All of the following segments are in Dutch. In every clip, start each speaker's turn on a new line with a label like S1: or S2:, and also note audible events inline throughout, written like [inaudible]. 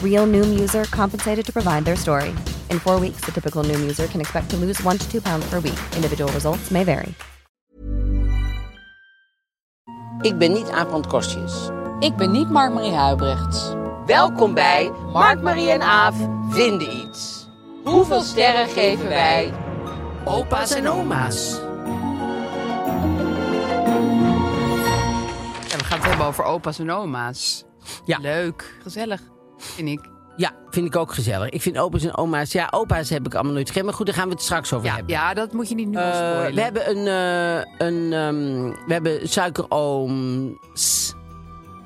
S1: Real Noom user compensated to provide their story. In four weeks, the typical Noom user can expect to lose one to two pounds per week. Individual results may vary.
S2: Ik ben niet Aap van het Kostjes.
S3: Ik ben niet Mark-Marie Huibrechts.
S2: Welkom bij Mark, Marie en Aaf vinden iets. Hoeveel sterren geven wij opa's en oma's?
S3: En we gaan het hebben over opa's en oma's.
S2: Ja.
S3: Leuk. Gezellig, vind ik.
S2: Ja, vind ik ook gezellig. Ik vind opa's en oma's... Ja, opa's heb ik allemaal nooit gekend. Maar goed, daar gaan we het straks over
S3: Ja,
S2: hebben.
S3: ja, dat moet je niet nu
S2: Eh,
S3: al spoilen.
S2: we hebben een... eh, een ehm, we hebben suikerooms.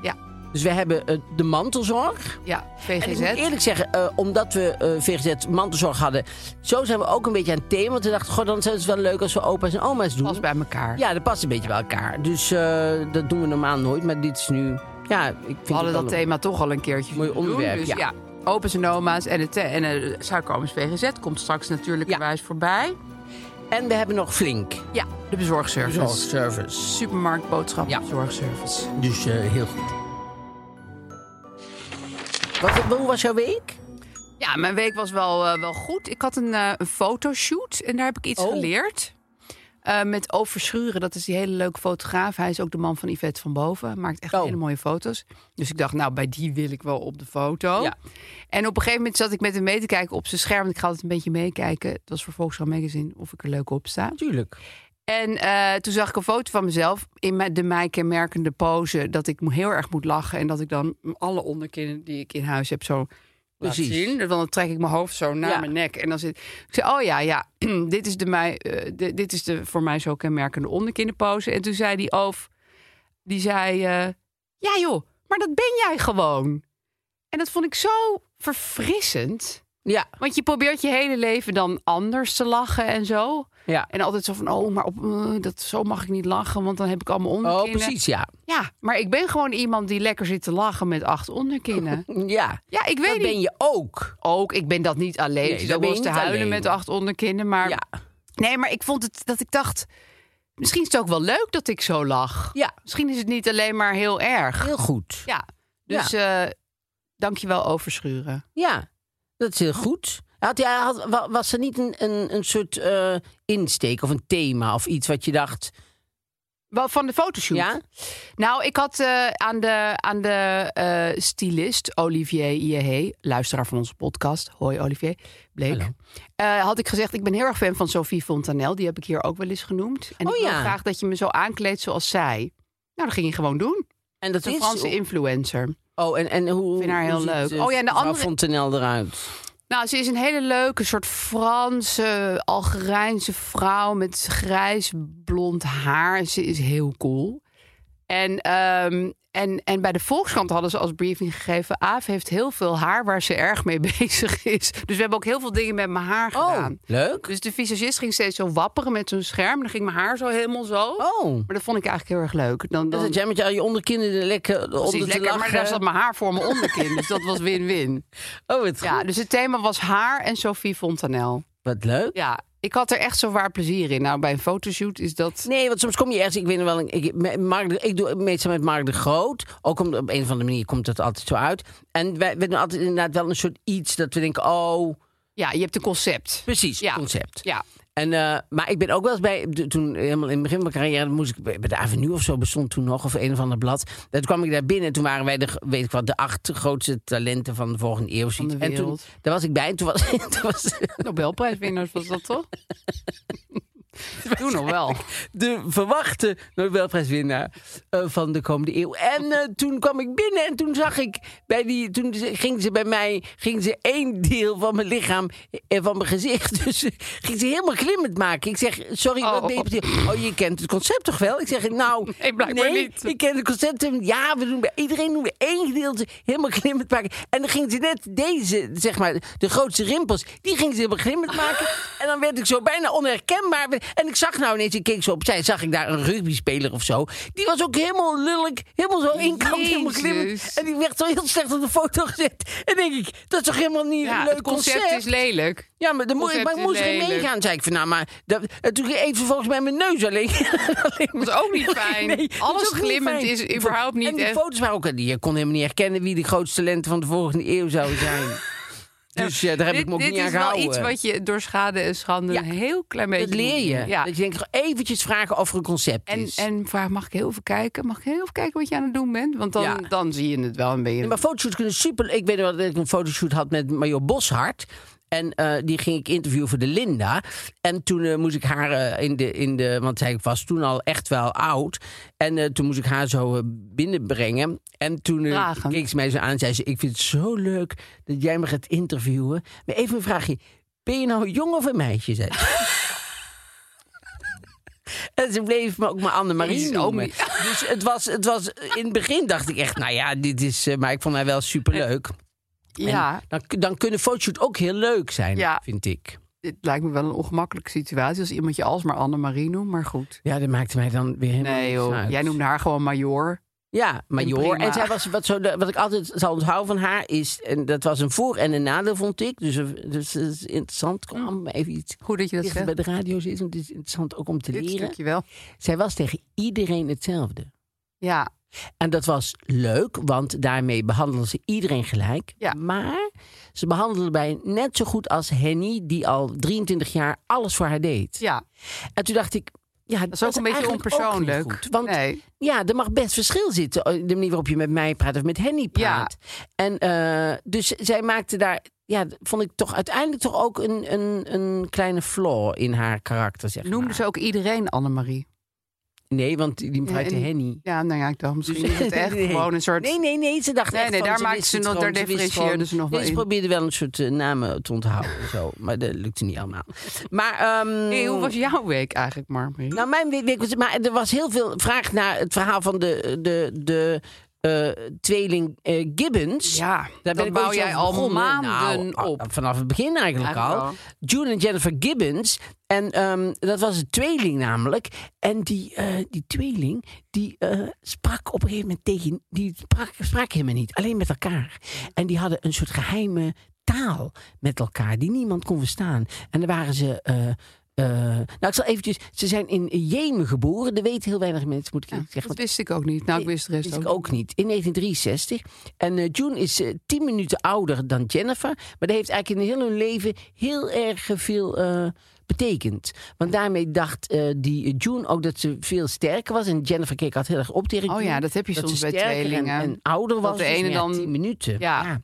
S3: Ja.
S2: Dus we hebben eh, de mantelzorg.
S3: Ja,
S2: En ik
S3: VGZ.
S2: moet eerlijk zeggen, eh, omdat we eh VGZ mantelzorg hadden... zo zijn we ook een beetje aan het thema. Want we dachten, goh, dan is het wel leuk als we opa's en oma's doen.
S3: Alles bij elkaar.
S2: Ja, dat past een beetje bij elkaar. Dus eh, dat doen we normaal nooit. Maar dit is nu... Ja, ik vind
S3: we hadden
S2: het
S3: dat
S2: wel een-
S3: thema toch al een keertje
S2: Mooi
S3: moeten
S2: onderwerp,
S3: doen,
S2: ja.
S3: dus ja. Opa's en oma's en, het, en eh, suikerooms VGZ komt straks natuurlijkerwijs voorbij.
S2: En we hebben nog flink.
S3: Ja, de bezorgservice.
S2: Zorgservice.
S3: Supermarkt, boodschap,
S2: Ja.
S3: zorgservice.
S2: Dus eh, heel goed. Wat, hoe was jouw week?
S3: Ja, mijn week was wel, eh, wel goed. Ik had een, eh, een fotoshoot en daar heb ik iets
S2: Oh.
S3: geleerd. Eh, met Overschuren, dat is die hele leuke fotograaf. Hij is ook de man van Yvette van Boven. Maakt echt
S2: Oh.
S3: hele mooie foto's. Dus ik dacht, nou, bij die wil ik wel op de foto.
S2: Ja.
S3: En op een gegeven moment zat ik met hem mee te kijken op zijn scherm. Want ik ga altijd een beetje meekijken. Het was voor Volkswagen Magazine of ik er leuk op sta.
S2: Tuurlijk.
S3: En eh, toen zag ik een foto van mezelf in mijn- de mij kenmerkende pose. Dat ik heel erg moet lachen. En dat ik dan alle onderkinnen die ik in huis heb zo laat
S2: Precies.
S3: zien. Dus dan trek ik mijn hoofd zo naar
S2: Ja.
S3: mijn nek. En dan zit ik zei, oh ja, ja, [clears throat] dit is de, mij, eh, de- dit is de voor mij zo kenmerkende onderkinnenpose. En toen zei die oof, die zei, eh, ja joh, maar dat ben jij gewoon. En dat vond ik zo verfrissend.
S2: Ja.
S3: Want je probeert je hele leven dan anders te lachen en zo.
S2: Ja.
S3: En altijd zo van, oh, maar op, eh, dat, zo mag ik niet lachen, want dan heb ik allemaal
S2: Oh,
S3: onderkinnen.
S2: precies, ja.
S3: Ja, maar ik ben gewoon iemand die lekker zit te lachen met acht
S2: [laughs]
S3: onderkinnen.
S2: Ja.
S3: Ja, ik weet
S2: dat
S3: niet.
S2: ben je ook.
S3: Ook, ik ben dat niet alleen.
S2: Nee,
S3: ik zit
S2: dat
S3: ook
S2: ben
S3: wel
S2: je
S3: eens te
S2: niet
S3: huilen
S2: alleen.
S3: met acht onderkinnen. Maar...
S2: Ja.
S3: Nee, maar ik vond het dat ik dacht, misschien is het ook wel leuk dat ik zo lach.
S2: Ja.
S3: Misschien is het niet alleen maar heel erg.
S2: Heel goed.
S3: Ja, dus eh dank je wel overschuren.
S2: Ja, dat is heel goed. Had, jij- had, wa- was er niet een, een, een soort eh, insteek of een thema of iets wat je dacht...
S3: Wel, Van de fotoshoot.
S2: Ja?
S3: Nou, ik had eh, aan de, aan de eh, stylist Olivier Iehe, luisteraar van onze podcast. Hoi Olivier, bleek.
S2: Hallo.
S3: Eh, had ik gezegd, ik ben heel erg fan van Sophie Fontanel. Die heb ik hier ook wel eens genoemd. En
S2: Oh
S3: ik wil
S2: ja.
S3: graag dat je me zo aankleedt zoals zij. Nou, dat ging hij gewoon doen.
S2: En
S3: Dat is een Franse influencer.
S2: Oh, en, en hoe...
S3: Vind haar heel
S2: hoe ziet,
S3: leuk.
S2: eh,
S3: Oh ja, en de
S2: mevrouw
S3: andere-
S2: Fontenelle eruit.
S3: Nou, ze is een hele leuke soort Franse, Algerijnse vrouw met grijs blond haar. Ze is heel cool. En, ehm, en, en bij de Volkskrant hadden ze als briefing gegeven... Aaf heeft heel veel haar waar ze erg mee [laughs] bezig is. Dus we hebben ook heel veel dingen met mijn haar
S2: Oh.
S3: gedaan.
S2: leuk.
S3: Dus de visagist ging steeds zo wapperen met zo'n scherm. Dan ging mijn haar zo helemaal zo.
S2: Oh,
S3: Maar dat vond ik eigenlijk heel erg leuk.
S2: dan
S3: Dan, dan,
S2: zat jij met je, je onderkinderen lekker
S3: was
S2: onder
S3: iets
S2: te
S3: lekker, maar
S2: lachen.
S3: daar zat mijn haar voor mijn onderkin. dus
S2: [laughs]
S3: dat was win-win.
S2: Oh, wat,
S3: Ja,
S2: goed.
S3: dus het thema was haar en Sophie Fontanel.
S2: wat leuk.
S3: Ja, ik had er echt zo waar plezier in. Nou, bij een fotoshoot is dat...
S2: Nee, want soms kom je ergens. Ik weet nog wel. Ik, me- Mark de- ik doe het meestal met Mark de Groot. Ook om, op een of andere manier komt dat altijd zo uit. En wij, we doen altijd inderdaad wel een soort iets dat we denken: oh,
S3: Ja, je hebt een concept.
S2: precies,
S3: Ja.
S2: concept.
S3: Ja,
S2: En, eh, maar ik ben ook wel eens bij, de- toen helemaal in het begin van mijn carrière, moest ik bij bij de Avenue of zo bestond toen nog, of een of ander blad. Toen kwam ik daar binnen en toen waren wij de, weet ik wat, de acht grootste talenten van de volgende eeuw. of
S3: Van de
S2: zoiets. en toen,
S3: wereld.
S2: [laughs] daar was ik bij en toen was, toen was
S3: [laughs] Nobelprijswinnaars was dat toch? Doe nog wel.
S2: de verwachte Nobelprijswinnaar eh, van de komende eeuw. En eh, toen kwam ik binnen en toen zag ik bij die. Toen ze- ging ze bij mij ging ze één deel van mijn lichaam en van mijn gezicht. [laughs] Dus eh, ging ze helemaal glimmend maken. Ik zeg: Sorry,
S3: Oh,
S2: wat ben je.
S3: oh.
S2: precies?" Oh, je kent het concept toch wel? Ik zeg: Nou,
S3: Nee, blijkbaar niet.
S2: Ik ken het concept. Ja, we doen bij iedereen doen we één gedeelte helemaal glimmend maken. En dan ging ze net deze, zeg maar, de grootste rimpels, die ging ze helemaal
S3: [laughs]
S2: glimmend maken. En dan werd ik zo bijna onherkenbaar. En ik zag nou ineens, ik keek zo opzij, zag ik daar een rugbyspeler of zo. Die was ook helemaal lullig, helemaal zo één kant, helemaal
S3: Jezus.
S2: glimmend. En die werd zo heel slecht op de foto gezet. En denk ik, dat is toch helemaal niet
S3: Ja,
S2: een
S3: het
S2: leuk
S3: concept, is lelijk.
S2: ja, maar, dan moe,
S3: Concept
S2: maar ik
S3: is
S2: moest erin
S3: lelijk.
S2: meegaan, zei ik van nou, maar dat, en toen heeft vervolgens mij mijn neus alleen. alleen
S3: Dat is [laughs] ook niet fijn. Alles glimmend is überhaupt niet
S2: En die
S3: echt.
S2: foto's waren ook, je kon helemaal niet herkennen wie de grootste lente van de volgende eeuw zou
S3: [laughs]
S2: zijn. dus ja, daar heb
S3: dit
S2: ik me ook
S3: dit
S2: niet aan
S3: is wel
S2: gehouden.
S3: iets wat je door schade en schande
S2: Ja,
S3: een heel klein beetje...
S2: dat leer je.
S3: moet- Ja.
S2: Dat je denkt, eventjes vragen of er een concept
S3: En,
S2: is.
S3: en vraag, mag ik heel even kijken? Mag ik heel even kijken wat je aan het doen bent? Want dan,
S2: Ja.
S3: dan zie je het wel een beetje.
S2: Ja, maar fotoshoots kunnen super. Ik weet nog wel dat ik een fotoshoot had met Major Boshart. En eh, die ging ik interviewen voor de Linda. En toen eh, moest ik haar eh, in, de, in de. Want zij was toen al echt wel oud. En eh, toen moest ik haar zo eh, binnenbrengen. En toen eh,
S3: Vragen.
S2: keek ze mij zo aan en zei ze: Ik vind het zo leuk dat jij me gaat interviewen. Maar even een vraagje: Ben je nou jong of een meisje? Zei ze. [laughs] En ze bleef me ook maar Annemarie
S3: Jezus, oh
S2: noemen.
S3: my-
S2: Dus het was, het was, in het begin dacht ik echt, nou ja, dit is, eh, maar ik vond haar wel superleuk. En
S3: ja,
S2: Dan, dan kunnen fotoshoot ook heel leuk zijn,
S3: Ja.
S2: vind ik.
S3: dit lijkt me wel een ongemakkelijke situatie als iemand je alsmaar Annemarie noemt, maar goed.
S2: Ja, dat maakte mij dan weer helemaal
S3: Nee
S2: niks
S3: joh,
S2: uit.
S3: jij noemde haar gewoon major.
S2: Ja, maar
S3: En
S2: joh.
S3: prima.
S2: En zij was, wat, zo, de- wat ik altijd zal onthouden van haar is, en dat was een voor- en een nadeel, vond ik. Dus, eh, dus het is interessant, kom maar even iets
S3: Goed dat je dat
S2: dichter bij
S3: zegt.
S2: de radio zit, want het is interessant ook om te
S3: Dit
S2: leren.
S3: stukje wel.
S2: Zij was tegen iedereen hetzelfde.
S3: Ja,
S2: En dat was leuk, want daarmee behandelden ze iedereen gelijk.
S3: Ja.
S2: Maar ze behandelden bij net zo goed als Henny, die al 23 jaar alles voor haar deed.
S3: ja.
S2: En toen dacht ik, ja,
S3: dat is ook een beetje
S2: eigenlijk ook niet
S3: onpersoonlijk.
S2: goed, want
S3: nee.
S2: ja, er mag best verschil zitten. eh, De manier waarop je met mij praat of met Henny praat. En eh, dus zij maakte daar, ja, vond ik toch uiteindelijk toch ook een, een, een kleine flaw in haar karakter. Zeg
S3: Noemde
S2: maar.
S3: ze ook iedereen Annemarie?
S2: Nee, want die die praat
S3: en-
S2: Henny.
S3: Ja, nou ja, ik dacht misschien
S2: [laughs]
S3: is het echt
S2: Nee.
S3: gewoon een soort...
S2: Nee, nee, nee. Ze dacht
S3: Nee,
S2: echt
S3: nee,
S2: van,
S3: daar
S2: ze
S3: maakte
S2: wist
S3: ze
S2: het
S3: nog-
S2: gewoon,
S3: daar
S2: wist
S3: differentieerden
S2: gewoon-
S3: ze nog wel
S2: nee, Ze
S3: in.
S2: probeerde wel een soort eh, namen te onthouden en zo. Maar dat lukte niet allemaal. Maar, ehm,
S3: Hey, hoe was jouw week eigenlijk, Marmarie?
S2: Nou, mijn week, week was... Maar er was heel veel vraag naar het verhaal van de, de, de eh, tweeling eh, Gibbons.
S3: ja,
S2: Daar ben
S3: dat
S2: ik
S3: bouw
S2: ooit zo
S3: jij al
S2: begonnen.
S3: maanden
S2: Nou,
S3: op.
S2: ah, Vanaf het begin eigenlijk
S3: Eigenlijk
S2: al.
S3: wel.
S2: June en Jennifer Gibbons. En ehm, dat was een tweeling namelijk. En die, eh, die tweeling, die eh, sprak op een gegeven moment tegen... Die sprak, sprak helemaal niet, alleen met elkaar. En die hadden een soort geheime taal met elkaar... die niemand kon verstaan. En daar waren ze... eh, eh, nou, ik zal eventjes... Ze zijn in Jemen geboren. Dat weten heel weinig mensen, moet ik
S3: Ja,
S2: eerlijk zeggen.
S3: dat wist ik ook niet. Nou, ik wist de rest
S2: Wist
S3: ook.
S2: ik ook niet. In 1963. En eh, June is eh, 10 minuten ouder dan Jennifer. Maar dat heeft eigenlijk in heel hun leven heel erg eh, veel eh, betekend. Want daarmee dacht eh, die June ook dat ze veel sterker was. En Jennifer keek altijd heel erg op tegen
S3: Oh
S2: June.
S3: ja, dat heb je soms
S2: ze
S3: bij
S2: sterker en-
S3: tweelingen.
S2: En, ouder
S3: Dat
S2: was.
S3: de
S2: Dus,
S3: ene
S2: nou ja,
S3: dan-
S2: 10 minuten.
S3: Ja.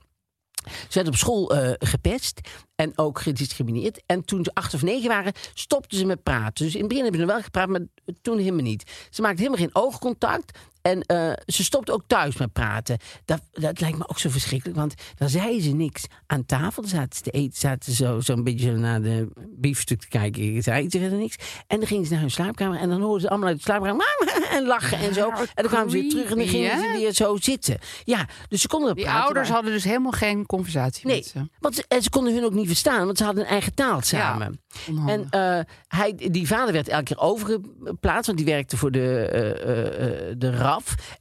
S2: Ze werd op school eh, gepest en ook gediscrimineerd. En toen ze acht of negen waren, stopten ze met praten. Dus in het begin hebben ze nog wel gepraat, maar toen helemaal niet. Ze maakte helemaal geen oogcontact. En eh, ze stopte ook thuis met praten. Dat, dat lijkt me ook zo verschrikkelijk. Want dan zei ze niks aan tafel. Dan zaten ze te eten, zaten ze zo, zo een beetje zo naar de biefstuk te kijken. Zei ze verder niks. En dan gingen ze naar hun slaapkamer. En dan hoorden ze allemaal uit de slaapkamer [laughs] "Mama," en lachen en zo. En dan kwamen ze weer terug en dan
S3: Creepy,
S2: gingen
S3: hè?
S2: ze weer zo zitten. Ja, dus ze konden
S3: Die
S2: praten.
S3: ouders
S2: maar-
S3: hadden dus helemaal geen conversatie met ze.
S2: want ze, en ze konden hun ook niet verstaan, want ze hadden een eigen taal samen. en
S3: onhandig.
S2: eh, hij, die vader werd elke keer overgeplaatst, want die werkte voor de, eh, eh, eh, de RAF.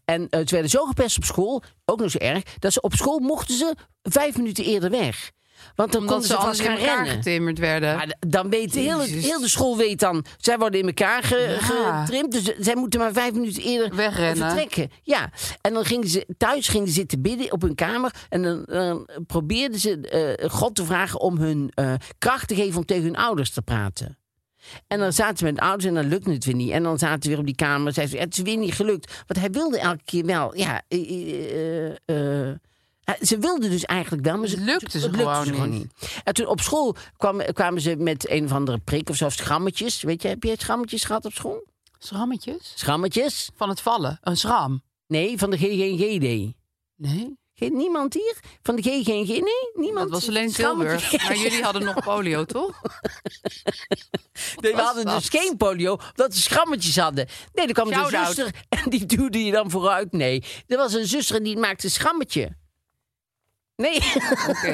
S2: En eh, ze werden zo gepest op school, ook nog zo erg, dat ze op school mochten ze vijf minuten eerder weg. Want dan
S3: Omdat
S2: konden
S3: ze
S2: ze
S3: anders
S2: vast
S3: in
S2: gaan
S3: elkaar
S2: rennen.
S3: getimmerd werden.
S2: Maar d- dan weet heel, het-
S3: Jezus.
S2: heel de school weet dan, zij worden in elkaar ge-
S3: Ja.
S2: getrimd. Dus zij moeten maar vijf minuten eerder
S3: Wegrennen.
S2: vertrekken. Ja. En dan gingen ze thuis gingen ze zitten bidden op hun kamer. En dan, dan probeerden ze eh, God te vragen om hun eh, kracht te geven om tegen hun ouders te praten. En dan zaten ze met de ouders en dan lukte het weer niet. En dan zaten ze weer op die kamer. Zei ze, het is weer niet gelukt. Want hij wilde elke keer wel. Ja, eh, eh, eh, Eh, Ze wilden dus eigenlijk wel, maar ze,
S3: Lukte ze
S2: het lukte
S3: gewoon
S2: ze gewoon
S3: niet.
S2: niet. En toen op school kwam, kwamen ze met een of andere prik of zo, of schrammetjes. Weet je, heb je schrammetjes gehad op school?
S3: Schrammetjes?
S2: Schrammetjes?
S3: Van het vallen. Een schram.
S2: Nee, van de GGGD.
S3: Nee.
S2: Geen- Niemand hier? Van de GGG? Nee, niemand.
S3: Dat was alleen
S2: Schrammetjes.
S3: Tilburg. Maar jullie hadden
S2: [laughs]
S3: nog polio, toch?
S2: Nee, we
S3: was
S2: hadden
S3: dat?
S2: dus geen polio, omdat ze schrammetjes hadden. Nee, er kwam een
S3: Shout-out.
S2: zuster en die duwde je dan vooruit. Nee, er was een zuster en die maakte een schrammetje. Nee,
S3: Oké.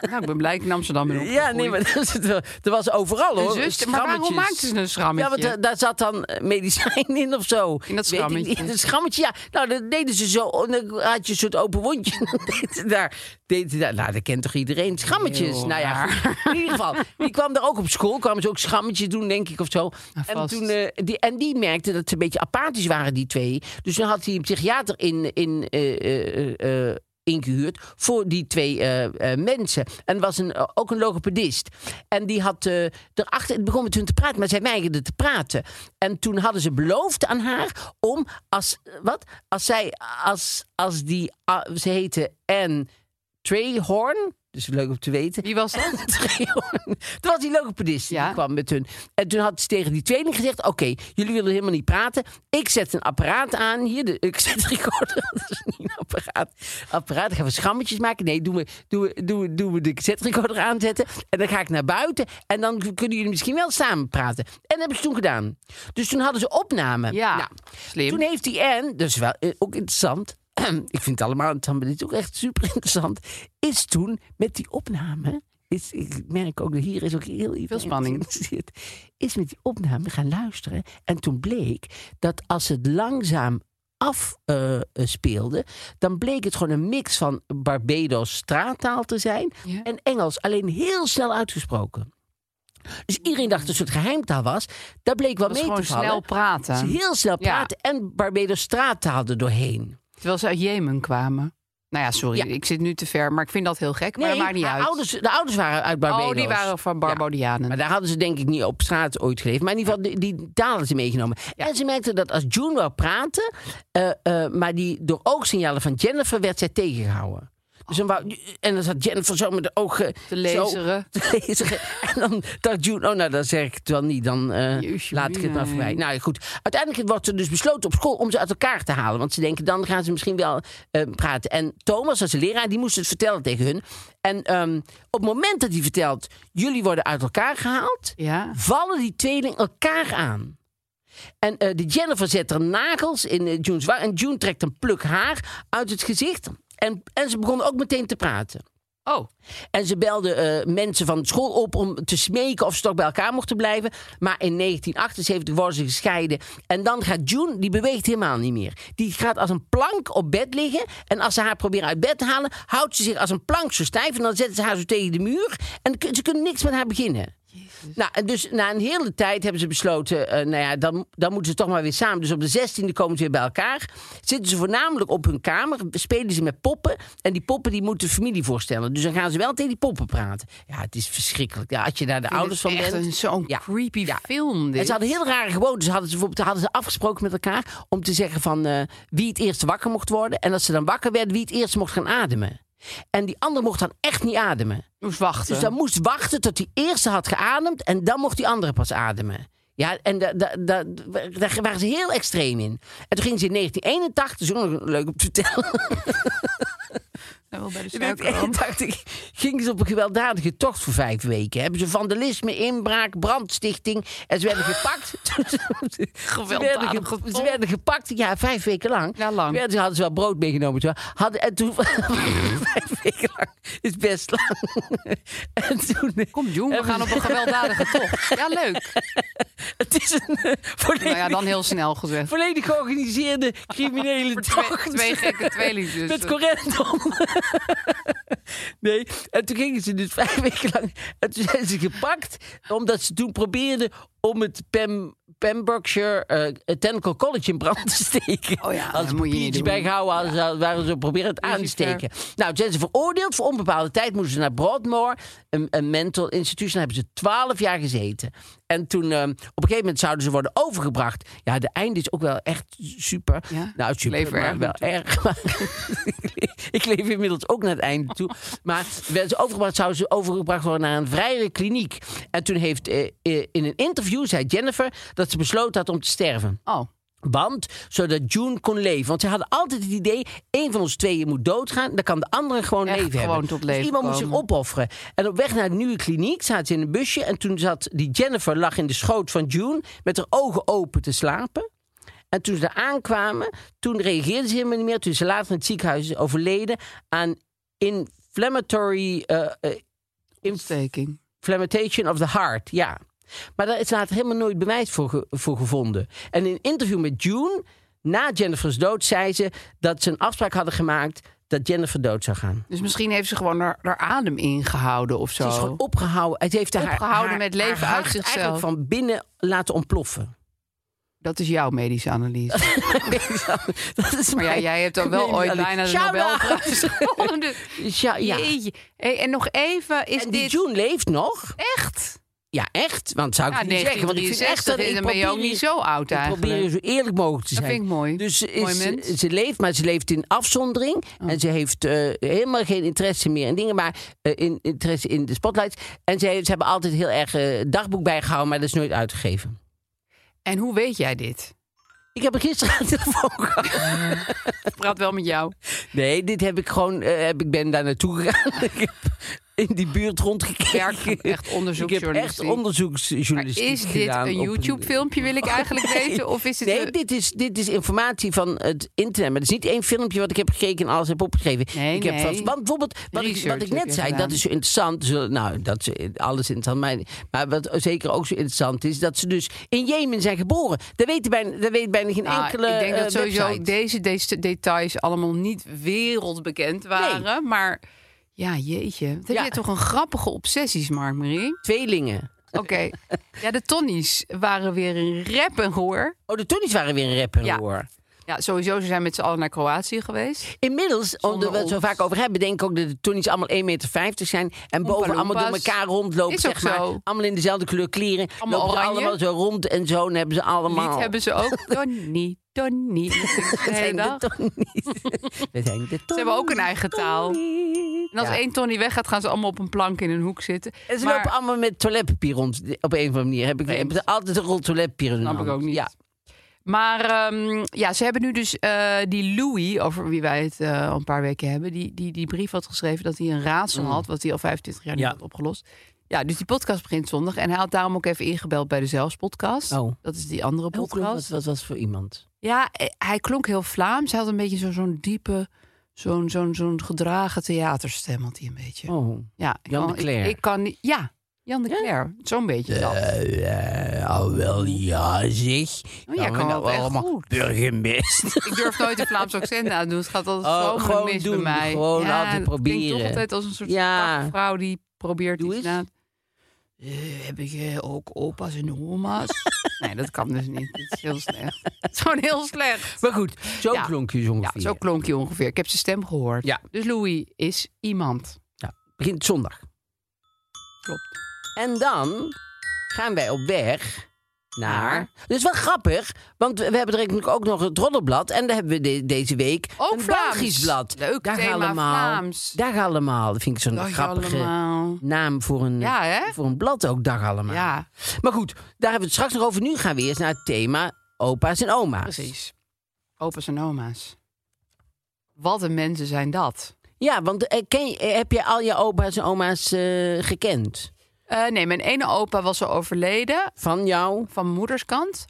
S3: Nou, ik ben blij dat ik in Amsterdam
S2: [laughs]
S3: ben
S2: ja, nee, maar dat, is het wel. er was overal hoor.
S3: Een zuster, maar waarom
S2: schrammetjes.
S3: maakten ze een schrammetje?
S2: Ja, want eh, daar zat dan eh, medicijn in of zo.
S3: In dat
S2: Weet ik niet. In
S3: schrammetje.
S2: dat schrammetje, ja. Nou, dat deden ze zo. En Dan had je een soort open wondje. [laughs] En Dan deden ze daar, deden ze daar. Nou, dat kent toch iedereen? Schrammetjes.
S3: Heel
S2: nou ja,
S3: raar.
S2: goed. in ieder geval. Die kwam daar ook op school. Kwamen ze ook schrammetjes doen, denk ik, of zo. en,
S3: Ah, vast.
S2: toen, eh, die, en die merkte dat ze een beetje apathisch waren, die twee. Dus toen had hij een psychiater in... in eh, eh, eh, eh, ingehuurd voor die twee eh, eh, mensen. En er was een, eh, ook een logopedist. En die had eh, erachter... Het begon met hun te praten, maar zij weigerde te praten. En toen hadden ze beloofd aan haar om... Als, eh, wat? Als zij... Als, als die... ah, ze heette Anne Trehorn. Dus leuk om te weten.
S3: Wie was dat?
S2: Trehorn. [laughs] Toen was die logopedist
S3: Ja.
S2: die kwam met hun. En toen had ze tegen die tweeling gezegd... oké, jullie willen helemaal niet praten. Ik zet een apparaat aan. Hier, de, ik zet de recorder. [laughs] Dat is niet een apparaat. Apparaat, dan gaan we schrammetjes maken. Nee, doen we, doen we, doen we, doen we de cassette-recorder aanzetten. En dan ga ik naar buiten. En dan kunnen jullie misschien wel samen praten. En dat hebben ze toen gedaan. Dus toen hadden ze opname.
S3: Ja,
S2: Nou,
S3: slim.
S2: toen heeft die Anne, dat is wel eh, ook interessant. [clears throat] ik vind het allemaal interessant, maar dit is ook echt super interessant. Is toen met die opname. Is, ik merk ook dat hier is ook heel
S3: Veel spanning.
S2: geïnteresseerd, Is met die opname gaan luisteren. En toen bleek dat als het langzaam afspeelde, speelde, dan bleek het gewoon een mix van Barbados straattaal te zijn
S3: Ja.
S2: en Engels, alleen heel snel uitgesproken. Dus iedereen dacht dat het een soort geheimtaal was. Daar bleek wel
S3: Dat is
S2: mee
S3: gewoon
S2: te vallen.
S3: snel praten.
S2: Ze heel snel
S3: Ja.
S2: praten en Barbados straattaal er doorheen.
S3: Terwijl ze uit Jemen kwamen. Nou ja, sorry,
S2: Ja.
S3: ik zit nu te ver, maar ik vind dat heel gek. maar
S2: Nee,
S3: dat maakt niet
S2: haar
S3: uit.
S2: Ouders, de ouders waren uit Barbados.
S3: oh, die waren van Barbodianen.
S2: Maar daar hadden ze denk ik niet op straat ooit geleefd. Maar in ieder geval, die, die taal hadden ze meegenomen. En ze merkten dat als June wou praten... eh, eh, maar die, door oogsignalen van Jennifer werd zij tegengehouden. Dus dan wou, en dan zat Jennifer zo met de ogen...
S3: Te lezeren.
S2: Zo, te lezeren. [laughs] En dan dacht June, oh nou, dat zeg ik het wel niet. Dan eh,
S3: Jeusje,
S2: laat ik het maar
S3: nee.
S2: voorbij. Nou ja, goed, uiteindelijk wordt er dus besloten op school... om ze uit elkaar te halen. Want ze denken, dan gaan ze misschien wel eh, praten. En Thomas, als leraar, die moest het vertellen tegen hun. En ehm, op het moment dat hij vertelt... jullie worden uit elkaar gehaald
S3: Ja.
S2: vallen die tweeling elkaar aan. En eh, de Jennifer zet er nagels in eh, June's waar. En June trekt een pluk haar uit het gezicht. En, en ze begonnen ook meteen te praten.
S3: Oh,
S2: En ze belden eh, mensen van de school op om te smeken of ze toch bij elkaar mochten blijven. Maar in 1978 worden ze gescheiden. En dan gaat June, die beweegt helemaal niet meer. Die gaat als een plank op bed liggen. En als ze haar proberen uit bed te halen, houdt ze zich als een plank zo stijf. En dan zetten ze haar zo tegen de muur. En kun- ze kunnen niks met haar beginnen. Nou, en dus na een hele tijd hebben ze besloten, eh, nou ja, dan, dan moeten ze toch maar weer samen. Dus op de 16e komen ze weer bij elkaar. Zitten ze voornamelijk op hun kamer, spelen ze met poppen. En die poppen die moeten de familie voorstellen. Dus dan gaan ze wel tegen die poppen praten. Ja, het is verschrikkelijk. Ja, als je daar de ouders van
S3: echt
S2: bent.
S3: een- zo'n
S2: Ja.
S3: creepy
S2: Ja.
S3: film dit.
S2: En ze hadden heel rare gewoontes. Hadden ze, bijvoorbeeld, hadden ze afgesproken met elkaar om te zeggen van eh, wie het eerst wakker mocht worden. En als ze dan wakker werd, wie het eerst mocht gaan ademen. En die ander mocht dan echt niet ademen.
S3: Moest wachten.
S2: Dus dan moest wachten tot die eerste had geademd en dan mocht die andere pas ademen. Ja, en da, da, da- daar waren ze heel extreem in. En toen gingen ze in 1981, dat is ook nog leuk om te vertellen.
S3: Ja, wel
S2: [laughs]
S3: bij de
S2: In
S3: suiker ook.
S2: 1981 gingen ze op een gewelddadige tocht voor vijf weken. Hebben ze vandalisme, inbraak, brandstichting. En ze werden gepakt. [laughs] ze, werden
S3: Gewelddadige
S2: ge- ze
S3: tocht.
S2: werden gepakt, ja, vijf weken lang.
S3: Ja, lang.
S2: Werden, ze hadden ze wel brood meegenomen. Toen, hadden, en toen, [laughs] vijf weken lang, is best lang. [laughs] en toen, eh,
S3: Kom, June, we gaan op een gewelddadige tocht. Ja,
S2: [laughs]
S3: leuk.
S2: Het is een eh, volledig,
S3: Nou ja, dan heel snel gezegd.
S2: volledig georganiseerde criminele
S3: Voor twee-
S2: tocht.
S3: twee gekke dus. tweelingzussen.
S2: Met correndon. [laughs] nee, en toen gingen ze dus [laughs] vijf weken lang... En toen zijn ze gepakt, omdat ze toen probeerden om het Pem... Pembrokeshire eh, het Technical College in brand te steken.
S3: Oh ja,
S2: Als
S3: dat moet je niet doen.
S2: bijgehouden hadden, zouden- waren ze proberen het aan te
S3: Precies, ja.
S2: steken. Nou, toen zijn ze veroordeeld. Voor onbepaalde tijd moesten ze naar Broadmoor, een, een mental institution. Daar hebben ze twaalf jaar gezeten. En toen, eh, op een gegeven moment zouden ze worden overgebracht. Ja, de einde is ook wel echt super.
S3: Ja,
S2: Nou,
S3: ik
S2: super,
S3: leef er
S2: maar
S3: erg
S2: wel erg. [laughs] Maar ik leef inmiddels ook naar het einde toe. Maar werden ze overgebracht, zouden ze overgebracht worden naar een vrijere kliniek. En toen heeft eh, eh, in een interview, zei Jennifer, dat ze besloten had om te sterven.
S3: Oh,
S2: Want zodat June kon leven. Want ze hadden altijd het idee: één van ons tweeën moet doodgaan. Dan kan de andere gewoon
S3: Echt
S2: leven
S3: gewoon
S2: hebben.
S3: tot
S2: dus
S3: leven
S2: iemand moet
S3: komen.
S2: zich opofferen. En op weg naar de nieuwe kliniek zaten ze in een busje. En toen zat die Jennifer lag in de schoot van June. met haar ogen open te slapen. En toen ze daar aankwamen, toen reageerde ze helemaal niet meer. Toen is ze later in het ziekenhuis is overleden aan inflammatory eh, eh,
S3: ontsteking.
S2: Inflammation of the Heart, ja. Maar daar is later helemaal nooit bewijs voor, ge- voor gevonden. En in een interview met June, na Jennifer's dood, zei ze dat ze een afspraak hadden gemaakt dat Jennifer dood zou gaan.
S3: Dus misschien heeft ze gewoon haar, haar adem ingehouden of zo.
S2: Ze is gewoon opgehouden. Het heeft haar,
S3: Opgehouden
S2: haar-
S3: met leven
S2: haar
S3: uit
S2: hart
S3: zichzelf.
S2: eigenlijk van binnen laten ontploffen. [laughs]
S3: Dat is jouw medische analyse.
S2: dat is
S3: Maar ja,
S2: mijn-
S3: jij hebt dan
S2: [laughs]
S3: wel
S2: Nee,
S3: ooit
S2: dat is-
S3: bijna de
S2: Shout-out! [laughs]
S3: Nobelprijs gewonnen. dus
S2: Ja, ja.
S3: Jeetje. Hey, en nog even, is
S2: En die
S3: dit
S2: June leeft nog.
S3: echt?
S2: Ja, echt. Want zou ik
S3: Ja,
S2: niet zeggen. Want ik vind echt
S3: 1963
S2: dat
S3: is-
S2: ik
S3: dan ben je ook
S2: probeer-
S3: niet zo oud
S2: ik probeer
S3: eigenlijk.
S2: je zo eerlijk mogelijk te
S3: Dat
S2: zijn.
S3: vind ik mooi.
S2: Dus ze
S3: Mooi Oh.
S2: is,
S3: mens.
S2: ze leeft, maar ze leeft in afzondering. En ze heeft eh, helemaal geen interesse meer in dingen, maar eh, in, interesse in de spotlights. En ze, ze hebben altijd heel erg eh, dagboek bijgehouden, maar dat is nooit uitgegeven.
S3: En hoe weet jij dit?
S2: Ik heb er gisteren aan de telefoon gehad.
S3: [laughs] Ik praat wel met
S2: [laughs]
S3: jou.
S2: Nee, dit heb ik gewoon. eh, heb, ik ben daar naartoe gegaan. [laughs] ik heb in die buurt rondgekeken.
S3: Werk, echt
S2: ik heb echt
S3: onderzoeksjournalistiek. Maar
S2: onderzoeksjournalistiek
S3: is dit
S2: gedaan
S3: een
S2: op Oh,
S3: YouTube-filmpje, wil ik eigenlijk weten? Of is het
S2: Nee,
S3: een-
S2: dit is, dit is informatie van het internet. Maar het is niet één filmpje wat ik heb gekeken en alles heb opgeschreven.
S3: Nee,
S2: ik heb
S3: nee.
S2: vast- want bijvoorbeeld, wat ik, wat
S3: Research
S2: ik
S3: heb
S2: net
S3: je
S2: zei,
S3: gedaan.
S2: dat is zo interessant. Zo- nou, dat is alles interessant. Maar, maar wat zeker ook zo interessant is, dat ze dus in Jemen zijn geboren. Dat weet bijna, dat weet bijna geen
S3: Nou,
S2: enkele
S3: ik denk dat
S2: eh,
S3: sowieso
S2: website.
S3: deze, deze details allemaal niet wereldbekend waren. Maar ja, jeetje. Wat heb
S2: Ja.
S3: je toch een grappige obsessies, Mark-Marie?
S2: Tweelingen.
S3: Oké. ja, de Tonnies waren weer in rep en roer.
S2: Oh, de Tonnies waren weer een rapper,
S3: Ja.
S2: hoor.
S3: Ja, sowieso, ze zijn met z'n allen naar Kroatië geweest.
S2: Inmiddels, oh, omdat we het zo
S3: ons.
S2: vaak over hebben, denk ik ook dat de Tonnies allemaal 1,50 meter zijn. En boven allemaal door
S3: Loompas.
S2: elkaar rondlopen.
S3: Is ook
S2: Zeg maar.
S3: zo.
S2: Allemaal in dezelfde kleur kleren.
S3: Allemaal
S2: lopen ze
S3: oranje.
S2: allemaal zo rond en zo. En hebben ze allemaal.
S3: Lied hebben ze
S2: [laughs]
S3: ook. Tony, Tony. De
S2: We
S3: hele
S2: zijn de [laughs]
S3: dag.
S2: Tonnies. We zijn de Tonnies.
S3: Ze hebben ook een eigen taal. En als
S2: Ja.
S3: één Tony weggaat, gaan ze allemaal op een plank in een hoek zitten.
S2: En ze
S3: Maar-
S2: lopen allemaal met toiletpapier rond. Op een of andere manier heb ik
S3: Vreemd.
S2: hebben ze altijd een rol toiletpapier in hun
S3: Snap ik
S2: hand.
S3: ook niet.
S2: Ja.
S3: Maar ehm, ja, ze hebben nu dus eh, die Louis, over wie wij het eh, al een paar weken hebben, die, die die brief had geschreven dat hij een raadsel had, wat hij al 25 jaar niet
S2: Mm. Ja.
S3: had opgelost. Ja, dus die podcast begint zondag. En hij had daarom ook even ingebeld bij de Zelfspodcast.
S2: Oh.
S3: Dat is die andere
S2: Hoe klonk dat?
S3: podcast.
S2: Wat was het voor iemand?
S3: Ja, eh, hij klonk heel Vlaams. Hij had een beetje zo- zo'n diepe, zo'n zo'n zo'n gedragen theaterstem had hij een beetje.
S2: Oh.
S3: Ja, ik
S2: Jan de
S3: kan- ik-
S2: Cler.
S3: Ik, kan niet- ja, Jan de Cler. Zo'n beetje dat.
S2: Eh, al wel ja, zeg.
S3: Oh, jij kan wel echt goed.
S2: Burgemeester.
S3: Ik durf nooit een Vlaams accent aan te doen. Het gaat altijd
S2: Oh,
S3: zo
S2: gewoon
S3: mis
S2: doen.
S3: bij mij.
S2: Gewoon
S3: ja,
S2: altijd
S3: het klinkt
S2: proberen.
S3: toch altijd als een soort
S2: Ja.
S3: ja. vrouw die probeert
S2: Doe
S3: iets
S2: eens.
S3: na. Eh, heb ik eh, ook opa's en oma's?
S2: [laughs]
S3: nee, dat kan dus niet. Dat is heel slecht. [laughs] Het is gewoon heel slecht.
S2: Maar goed, zo
S3: Ja.
S2: klonk je zo
S3: Ja,
S2: ongeveer.
S3: zo klonk je ongeveer. Ik heb zijn stem gehoord.
S2: Ja.
S3: Dus Louis is iemand.
S2: Begint zondag.
S3: Klopt.
S2: En dan gaan wij op weg naar... Dus wel grappig, want we we hebben direct ook nog het Roddelblad. En daar hebben we de- deze week
S3: Ook
S2: een
S3: Vlaams.
S2: Belgisch blad.
S3: Leuk
S2: Dag
S3: thema
S2: allemaal.
S3: Vlaams.
S2: Dag allemaal. Dat vind ik zo'n
S3: Dag
S2: grappige
S3: allemaal.
S2: naam voor een,
S3: Ja, hè?
S2: voor een blad ook. Dag allemaal.
S3: Ja,
S2: Maar goed, daar hebben we het straks nog over. Nu gaan we eerst naar het thema opa's en oma's.
S3: precies. Opa's en oma's. Wat een mensen zijn dat.
S2: Ja, want eh, ken je- eh, heb je al je opa's en oma's eh, gekend?
S3: Eh, nee, mijn ene opa was al overleden
S2: Van jou?
S3: van moederskant.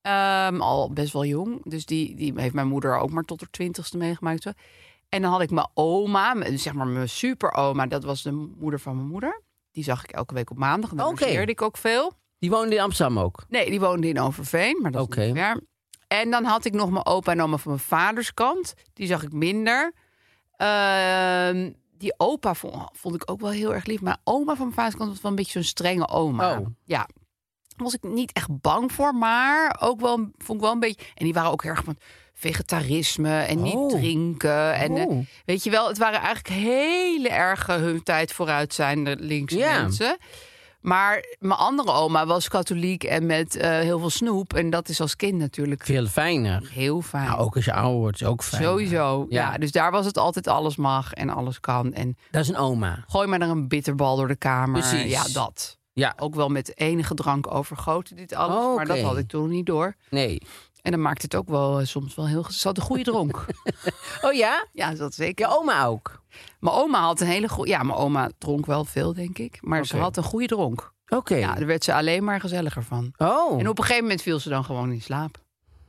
S3: Ehm, al best wel jong. Dus die, die heeft mijn moeder ook maar tot haar twintigste meegemaakt. Zo. En dan had ik mijn oma, m- zeg maar mijn superoma. Dat was de moeder van mijn moeder. Die zag ik elke week op maandag. En daar
S2: Oké.
S3: logeerde ik ook veel.
S2: Die woonde in Amsterdam ook.
S3: Nee, die woonde in Overveen, maar dat
S2: Oké.
S3: is niet ver. En dan had ik nog mijn opa en oma van mijn vaders kant. Die zag ik minder. Ehm, die opa vond, vond ik ook wel heel erg lief. Maar oma van mijn vaders kant was wel een beetje zo'n strenge oma.
S2: Oh.
S3: Ja. was ik niet echt bang voor, maar ook wel, vond ik wel een beetje. En die waren ook erg van vegetarisme en niet
S2: Oh.
S3: drinken. En eh,
S2: Oh.
S3: weet je wel, het waren eigenlijk hele erg hun tijd vooruit zijn linkse
S2: Ja.
S3: mensen. Maar mijn andere oma was katholiek en met eh, heel veel snoep. En dat is als kind natuurlijk
S2: Veel fijner.
S3: heel fijn.
S2: Nou, ook als je ouder wordt, is ook fijn.
S3: Sowieso. Ja.
S2: Ja.
S3: dus daar was het altijd alles mag en alles kan. En
S2: Dat is een oma.
S3: gooi maar er een bitterbal door de kamer.
S2: Precies.
S3: Ja, dat.
S2: Ja,
S3: Ook wel met enige drank overgoten dit alles.
S2: Oh,
S3: Maar dat
S2: oké.
S3: had ik toen niet door.
S2: nee.
S3: En dan maakt het ook wel eh, soms wel heel... gez- Ze had een goede
S2: [laughs]
S3: dronk.
S2: Oh ja? oh.
S3: ja, dat zeker.
S2: Je oma ook?
S3: Mijn oma had een hele goede... Ja, mijn oma dronk wel veel, denk ik. Maar ze
S2: Oké.
S3: had een goede dronk.
S2: Oké.
S3: Ja, daar werd ze alleen maar gezelliger van.
S2: Oh.
S3: En op een gegeven moment viel ze dan gewoon in slaap.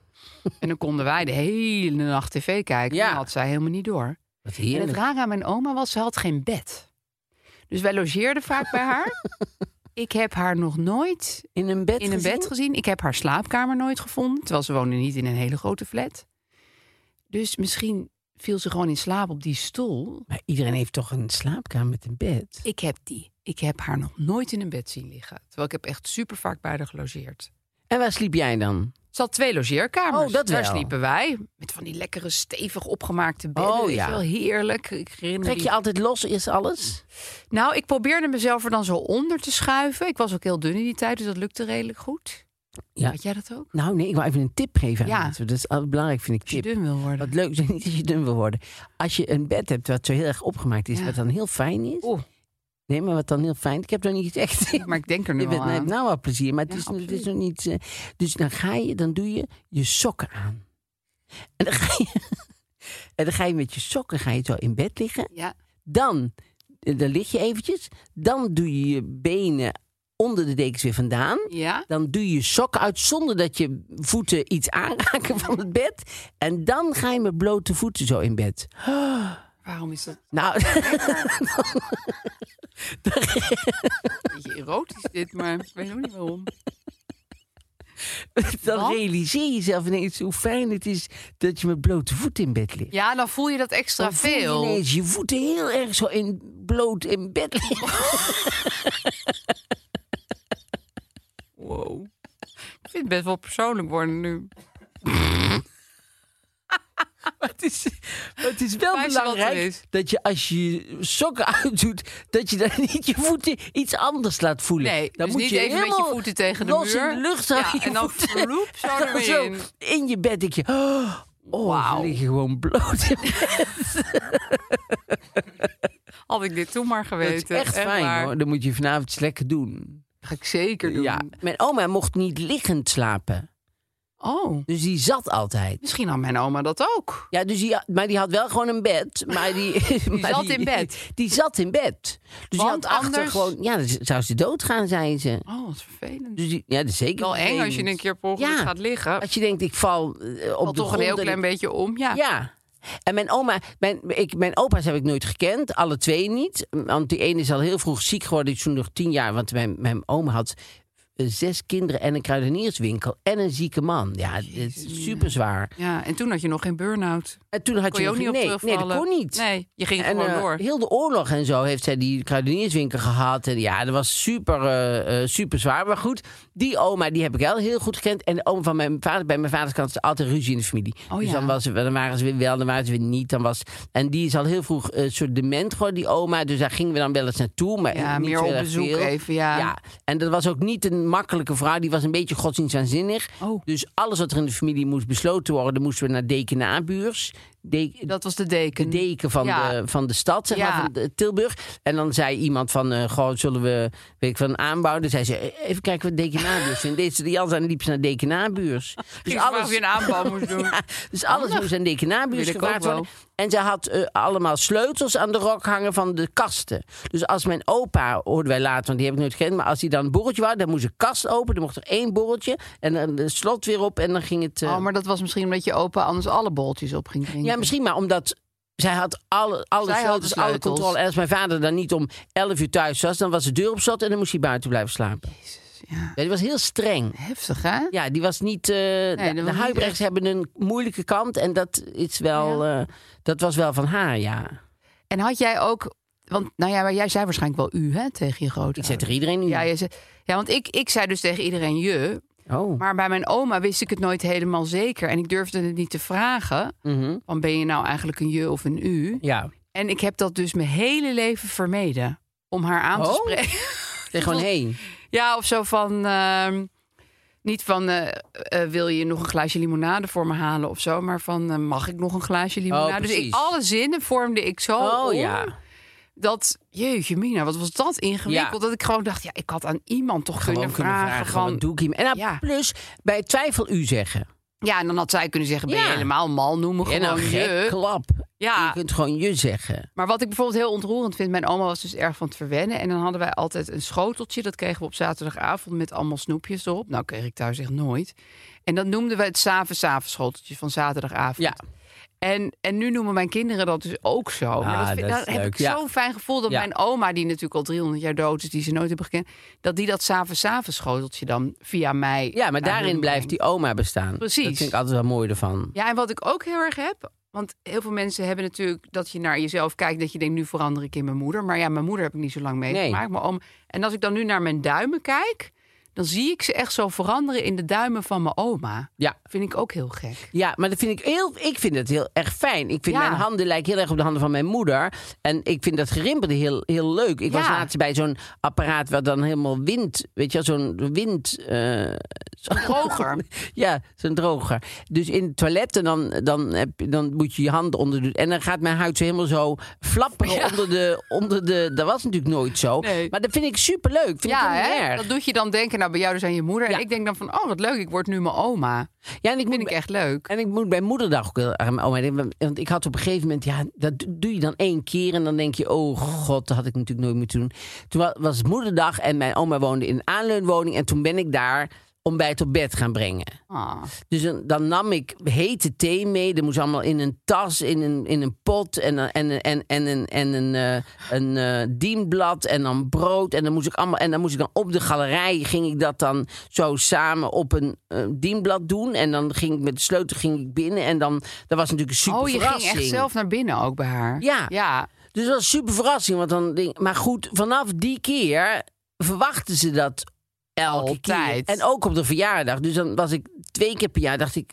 S3: [laughs] en dan konden wij de hele nacht tv kijken.
S2: Ja.
S3: Dat had zij helemaal niet door.
S2: Wat
S3: En het
S2: heerlijk.
S3: rare aan mijn oma was, ze had geen bed. Dus wij logeerden vaak bij
S2: [laughs]
S3: haar. Ik heb haar nog nooit
S2: In een bed
S3: in een
S2: gezien?
S3: bed gezien. Ik heb haar slaapkamer nooit gevonden. Terwijl ze woonde niet in een hele grote flat. Dus misschien viel ze gewoon in slaap op die stoel.
S2: Maar iedereen heeft toch een slaapkamer met een bed?
S3: Ik heb die. Ik heb haar nog nooit in een bed zien liggen. Terwijl ik heb echt super vaak bij haar gelogeerd.
S2: En waar sliep jij dan?
S3: Ze had twee logeerkamers.
S2: Oh, dat
S3: Daar
S2: wel.
S3: sliepen wij. Met van die lekkere, stevig opgemaakte bedden.
S2: Oh,
S3: Weet je
S2: ja.
S3: Wel heerlijk. Ik herinner
S2: Trek
S3: die-
S2: je altijd los eerst alles?
S3: Nou, ik probeerde mezelf er dan zo onder te schuiven. Ik was ook heel dun in die tijd, dus dat lukte redelijk goed.
S2: Ja.
S3: Had jij dat ook?
S2: Nou nee, ik wil even een tip geven aan
S3: Ja.
S2: mensen. Dat is altijd belangrijk, vind ik,
S3: Als je
S2: tip.
S3: dun wil worden.
S2: Wat leuk, [laughs] niet dat je dun wil worden. Als je een bed hebt wat zo heel erg opgemaakt is,
S3: Ja.
S2: wat dan heel fijn is.
S3: Oeh.
S2: Nee, maar wat dan heel fijn. Ik heb nog niet echt.
S3: Maar ik denk er nu
S2: Je bent,
S3: wel aan.
S2: hebt nou wel plezier, maar het,
S3: Ja,
S2: is, nog- het is
S3: absoluut.
S2: nog niet. eh, dus dan ga je, dan doe je je sokken aan. En dan ga je, [laughs] en dan ga je met je sokken ga je zo in bed liggen.
S3: Ja.
S2: Dan, eh, dan lig je eventjes. Dan doe je je benen onder de dekens weer vandaan.
S3: Ja.
S2: Dan doe je je sokken uit zonder dat je voeten iets aanraken van het bed. En dan ga je met blote voeten zo in bed.
S3: Waarom is dat
S2: Nou, [laughs]
S3: een beetje erotisch dit? Maar ik weet ook niet waarom.
S2: dan
S3: Wat?
S2: realiseer je jezelf ineens hoe fijn het is dat je met blote voeten in bed ligt.
S3: Ja, dan voel je dat extra
S2: Dan voel je
S3: veel.
S2: ineens je voeten heel erg zo in bloot in [laughs] bed liggen.
S3: Wow. Ik vind het best wel persoonlijk worden nu.
S2: Maar het is, maar het is wel
S3: Fijn dat het er
S2: belangrijk
S3: is.
S2: dat je als je je sokken [laughs] uitdoet, dat je dan niet je voeten iets anders laat voelen.
S3: Nee,
S2: dan
S3: dus
S2: moet
S3: niet
S2: je
S3: even met je
S2: helemaal
S3: voeten tegen de
S2: los
S3: muur.
S2: in de lucht
S3: Ja,
S2: houden, je
S3: en dan
S2: voeten.
S3: vloep,
S2: [laughs]
S3: [laughs] zo
S2: En dan
S3: er weer
S2: zo
S3: in.
S2: in je bed. denk je, oh,
S3: Wauw.
S2: ze liggen gewoon bloot in bed.
S3: Had ik dit toen maar
S2: Dat
S3: geweten.
S2: is echt fijn
S3: waar.
S2: hoor. Dan moet je vanavond eens lekker doen.
S3: Dat ga ik zeker doen.
S2: Ja. Mijn oma mocht niet liggend slapen.
S3: Oh,
S2: Dus die zat altijd.
S3: misschien had mijn oma dat ook.
S2: Ja, dus die, maar die had wel gewoon een bed. Maar
S3: [laughs]
S2: die, die
S3: zat in bed.
S2: Die zat in bed. Dus die
S3: Want
S2: had achter
S3: anders-
S2: gewoon... Ja, dan zou ze doodgaan, zei ze.
S3: Oh, wat vervelend.
S2: Dus die, ja, dat is zeker
S3: wel eng als je
S2: vervelend.
S3: een keer per ongeluk
S2: Ja.
S3: gaat liggen.
S2: Als je denkt, ik val eh, op
S3: Valt
S2: de
S3: toch een
S2: grond
S3: heel
S2: en
S3: klein
S2: ik-
S3: beetje om. Ja.
S2: Ja. En mijn oma, mijn, ik, mijn opa's heb ik nooit gekend, alle twee niet. Want die ene is al heel vroeg ziek geworden, die is toen nog tien jaar. Want mijn, mijn oma had eh, zes kinderen en een kruidenierswinkel en een zieke man. Ja, het is super zwaar.
S3: Ja, en toen had je nog geen burn-out.
S2: En toen had
S3: Kon je ook
S2: nog-
S3: niet op
S2: nee, nee,
S3: terugvallen.
S2: dat kon niet.
S3: Nee, je ging
S2: En
S3: gewoon
S2: eh,
S3: door.
S2: heel de oorlog en zo heeft zij die kruidenierswinkel gehad. En ja, dat was super, eh, eh, super zwaar. Maar goed, die oma die heb ik wel heel goed gekend. En de oma van mijn vader, bij mijn vaders kant, is altijd ruzie in de familie.
S3: Oh,
S2: dus
S3: ja.
S2: dan, was, ze- dan waren ze weer wel, dan waren ze weer niet. Dan was, en die is al heel vroeg eh, een soort dement geworden, die oma. Dus daar gingen we dan wel eens naartoe. Maar
S3: Ja,
S2: niet
S3: meer
S2: zo
S3: op
S2: heel erg
S3: bezoek
S2: veel.
S3: even, ja.
S2: ja. En dat was ook niet een makkelijke vrouw. Die was een beetje godsdienstwaanzinnig.
S3: Oh.
S2: Dus alles wat er in de familie moest besloten worden, moesten we naar deken nabuurs. Dek-
S3: Dat was de deken.
S2: de deken van,
S3: Ja.
S2: de, van de stad, zeg
S3: Ja.
S2: maar, van de- Tilburg. En dan zei iemand van, eh goh, zullen we, weet ik van aanbouwen? Dan zei ze, eh, even kijken wat dekenabuurs vindt. Deze de Jan liep ze naar
S3: [laughs]
S2: dekenabuurs. Dus
S3: Ging ze vragen of je een aanbouw moest [laughs] doen.
S2: Ja, [laughs] dus alles moest aan dekenabuurs
S3: Wil ik ook
S2: gevraagd
S3: wel.
S2: worden. En ze had eh, allemaal sleutels aan de rok hangen van de kasten. Dus als mijn opa, hoorden wij later, want die heb ik nooit gekend... maar als hij dan een borreltje wou, dan moest een kast open. Dan mocht er één borreltje en dan de slot weer op en dan ging het... eh,
S3: Oh, maar dat was misschien omdat je opa anders alle boltjes op ging drinken.
S2: ja, misschien maar omdat zij had alle, alle
S3: Zij had de
S2: sleutels, alle
S3: sleutels.
S2: controle. En als mijn vader dan niet om 11 uur thuis was, dan was de deur op slot en dan moest hij buiten blijven slapen.
S3: ja.
S2: Ja, die was heel streng.
S3: Heftig, hè?
S2: Ja, die was niet. eh,
S3: dat
S2: de
S3: was niet
S2: huibrechts
S3: echt-
S2: hebben een moeilijke kant en dat is wel. eh, dat was wel van haar, ja.
S3: En had jij ook Want nou ja, maar jij zei waarschijnlijk wel u hè, tegen je
S2: Ik
S3: grootouders.
S2: zet er iedereen in.
S3: Ja, jij zei- ja, want ik, ik zei dus tegen iedereen je.
S2: Oh.
S3: Maar bij mijn oma wist ik het nooit helemaal zeker. En ik durfde het niet te vragen.
S2: Mhm.
S3: Van ben je nou eigenlijk een je of een u?
S2: Ja.
S3: En ik heb dat dus mijn hele leven vermeden. Om haar aan te
S2: Oh.
S3: spreken. [laughs]
S2: Zeg gewoon heen.
S3: Ja, of zo van. ehm, niet van eh, eh, wil je nog een glaasje limonade voor me halen of zo, maar van eh, mag ik nog een glaasje limonade? dus
S2: Oh,
S3: ik,
S2: precies.
S3: alle zinnen vormde ik zo.
S2: Oh
S3: om
S2: ja.
S3: Dat, jeetje, Mina, wat was dat ingewikkeld?
S2: Ja.
S3: Dat ik gewoon dacht, ja, ik had aan iemand toch
S2: Gewoon
S3: kunnen vragen.
S2: van,
S3: van,
S2: wat doe ik hier? En dan
S3: Ja.
S2: plus bij twijfel u zeggen.
S3: ja, en dan had zij kunnen zeggen, ben je
S2: Ja.
S3: helemaal mal, noem me
S2: En
S3: gewoon
S2: nou gek,
S3: je.
S2: klap.
S3: Ja.
S2: Je kunt gewoon je zeggen.
S3: Maar wat ik bijvoorbeeld heel ontroerend vind, mijn oma was dus erg van het verwennen. En dan hadden wij altijd een schoteltje, dat kregen we op zaterdagavond met allemaal snoepjes erop. Nou, kreeg ik thuis echt nooit. En dat noemden we het s'avonds-avonds schoteltje van zaterdagavond.
S2: Ja.
S3: En, en nu noemen mijn kinderen dat dus ook zo. Maar
S2: Ah,
S3: dat, vind-
S2: dat is
S3: daar heb
S2: leuk,
S3: ik
S2: ja.
S3: zo'n fijn gevoel dat
S2: Ja.
S3: mijn oma, die natuurlijk al 300 jaar dood is, die ze nooit hebben gekend, dat die dat s'avonds-avonds schoteltje dan via mij.
S2: Ja, maar
S3: naar
S2: daarin
S3: hun
S2: blijft
S3: brengt.
S2: die oma bestaan.
S3: Precies.
S2: Dat vind ik altijd wel mooi ervan.
S3: Ja, en wat ik ook heel erg heb. Want heel veel mensen hebben natuurlijk dat je naar jezelf kijkt. Dat je denkt, nu verander ik in mijn moeder. Maar ja, mijn moeder heb ik niet zo lang meegemaakt.
S2: Nee.
S3: Maar om, en als ik dan nu naar mijn duimen kijk. dan zie ik ze echt zo veranderen in de duimen van mijn oma.
S2: Ja.
S3: Vind ik ook heel gek.
S2: Ja, maar dat vind ik heel, ik vind het heel erg fijn. Ik vind
S3: Ja.
S2: mijn handen lijken heel erg op de handen van mijn moeder. En ik vind dat gerimpelde heel, heel leuk. Ik was
S3: Ja.
S2: laatst bij zo'n apparaat waar dan helemaal wind, weet je, wel, zo'n wind. eh, zo-
S3: droger.
S2: [laughs] ja, zo'n droger. Dus in het toilet en dan, dan, heb, je- dan moet je je handen onder doen. En dan gaat mijn huid zo helemaal zo flapperen onder, de, onder de. Dat was natuurlijk nooit zo.
S3: Nee.
S2: Maar dat vind ik superleuk. Vind ik
S3: ja,
S2: helemaal niet
S3: hè?
S2: erg.
S3: Dat doet je dan denken, nou bij jou dus aan je moeder.
S2: Ja.
S3: En ik denk dan van, oh wat leuk, ik word nu mijn oma.
S2: ja, en ik
S3: Vind
S2: moet
S3: ik echt leuk.
S2: En ik moet bij moederdag ook heel erg aan mijn oma denken. Want ik had op een gegeven moment, ja, dat do- doe je dan één keer. En dan denk je, oh god, dat had ik natuurlijk nooit moeten doen. Toen wa- was het moederdag en mijn oma woonde in een aanleunwoning. En toen ben ik daar ontbijt op bed gaan brengen.
S3: Ah.
S2: Dus dan, dan nam ik hete thee mee. Dat moest allemaal in een tas, in een, in een pot en, een- en, een- en, en, een- en een, eh, een eh, dienblad en dan brood. En dan, moest ik allemaal, en dan moest ik dan op de galerij, ging ik dat dan zo samen op een eh, dienblad doen. En dan ging ik met de sleutel ging ik binnen en dan, dat was natuurlijk een super
S3: Oh, je ging
S2: verrassing.
S3: echt zelf naar binnen ook bij haar.
S2: Ja.
S3: Ja.
S2: Dus dat was een super verrassing. Want dan denk, maar goed, vanaf die keer verwachten ze dat elke
S3: Altijd.
S2: keer. En ook op de verjaardag. Dus dan was ik twee keer per jaar, dacht ik...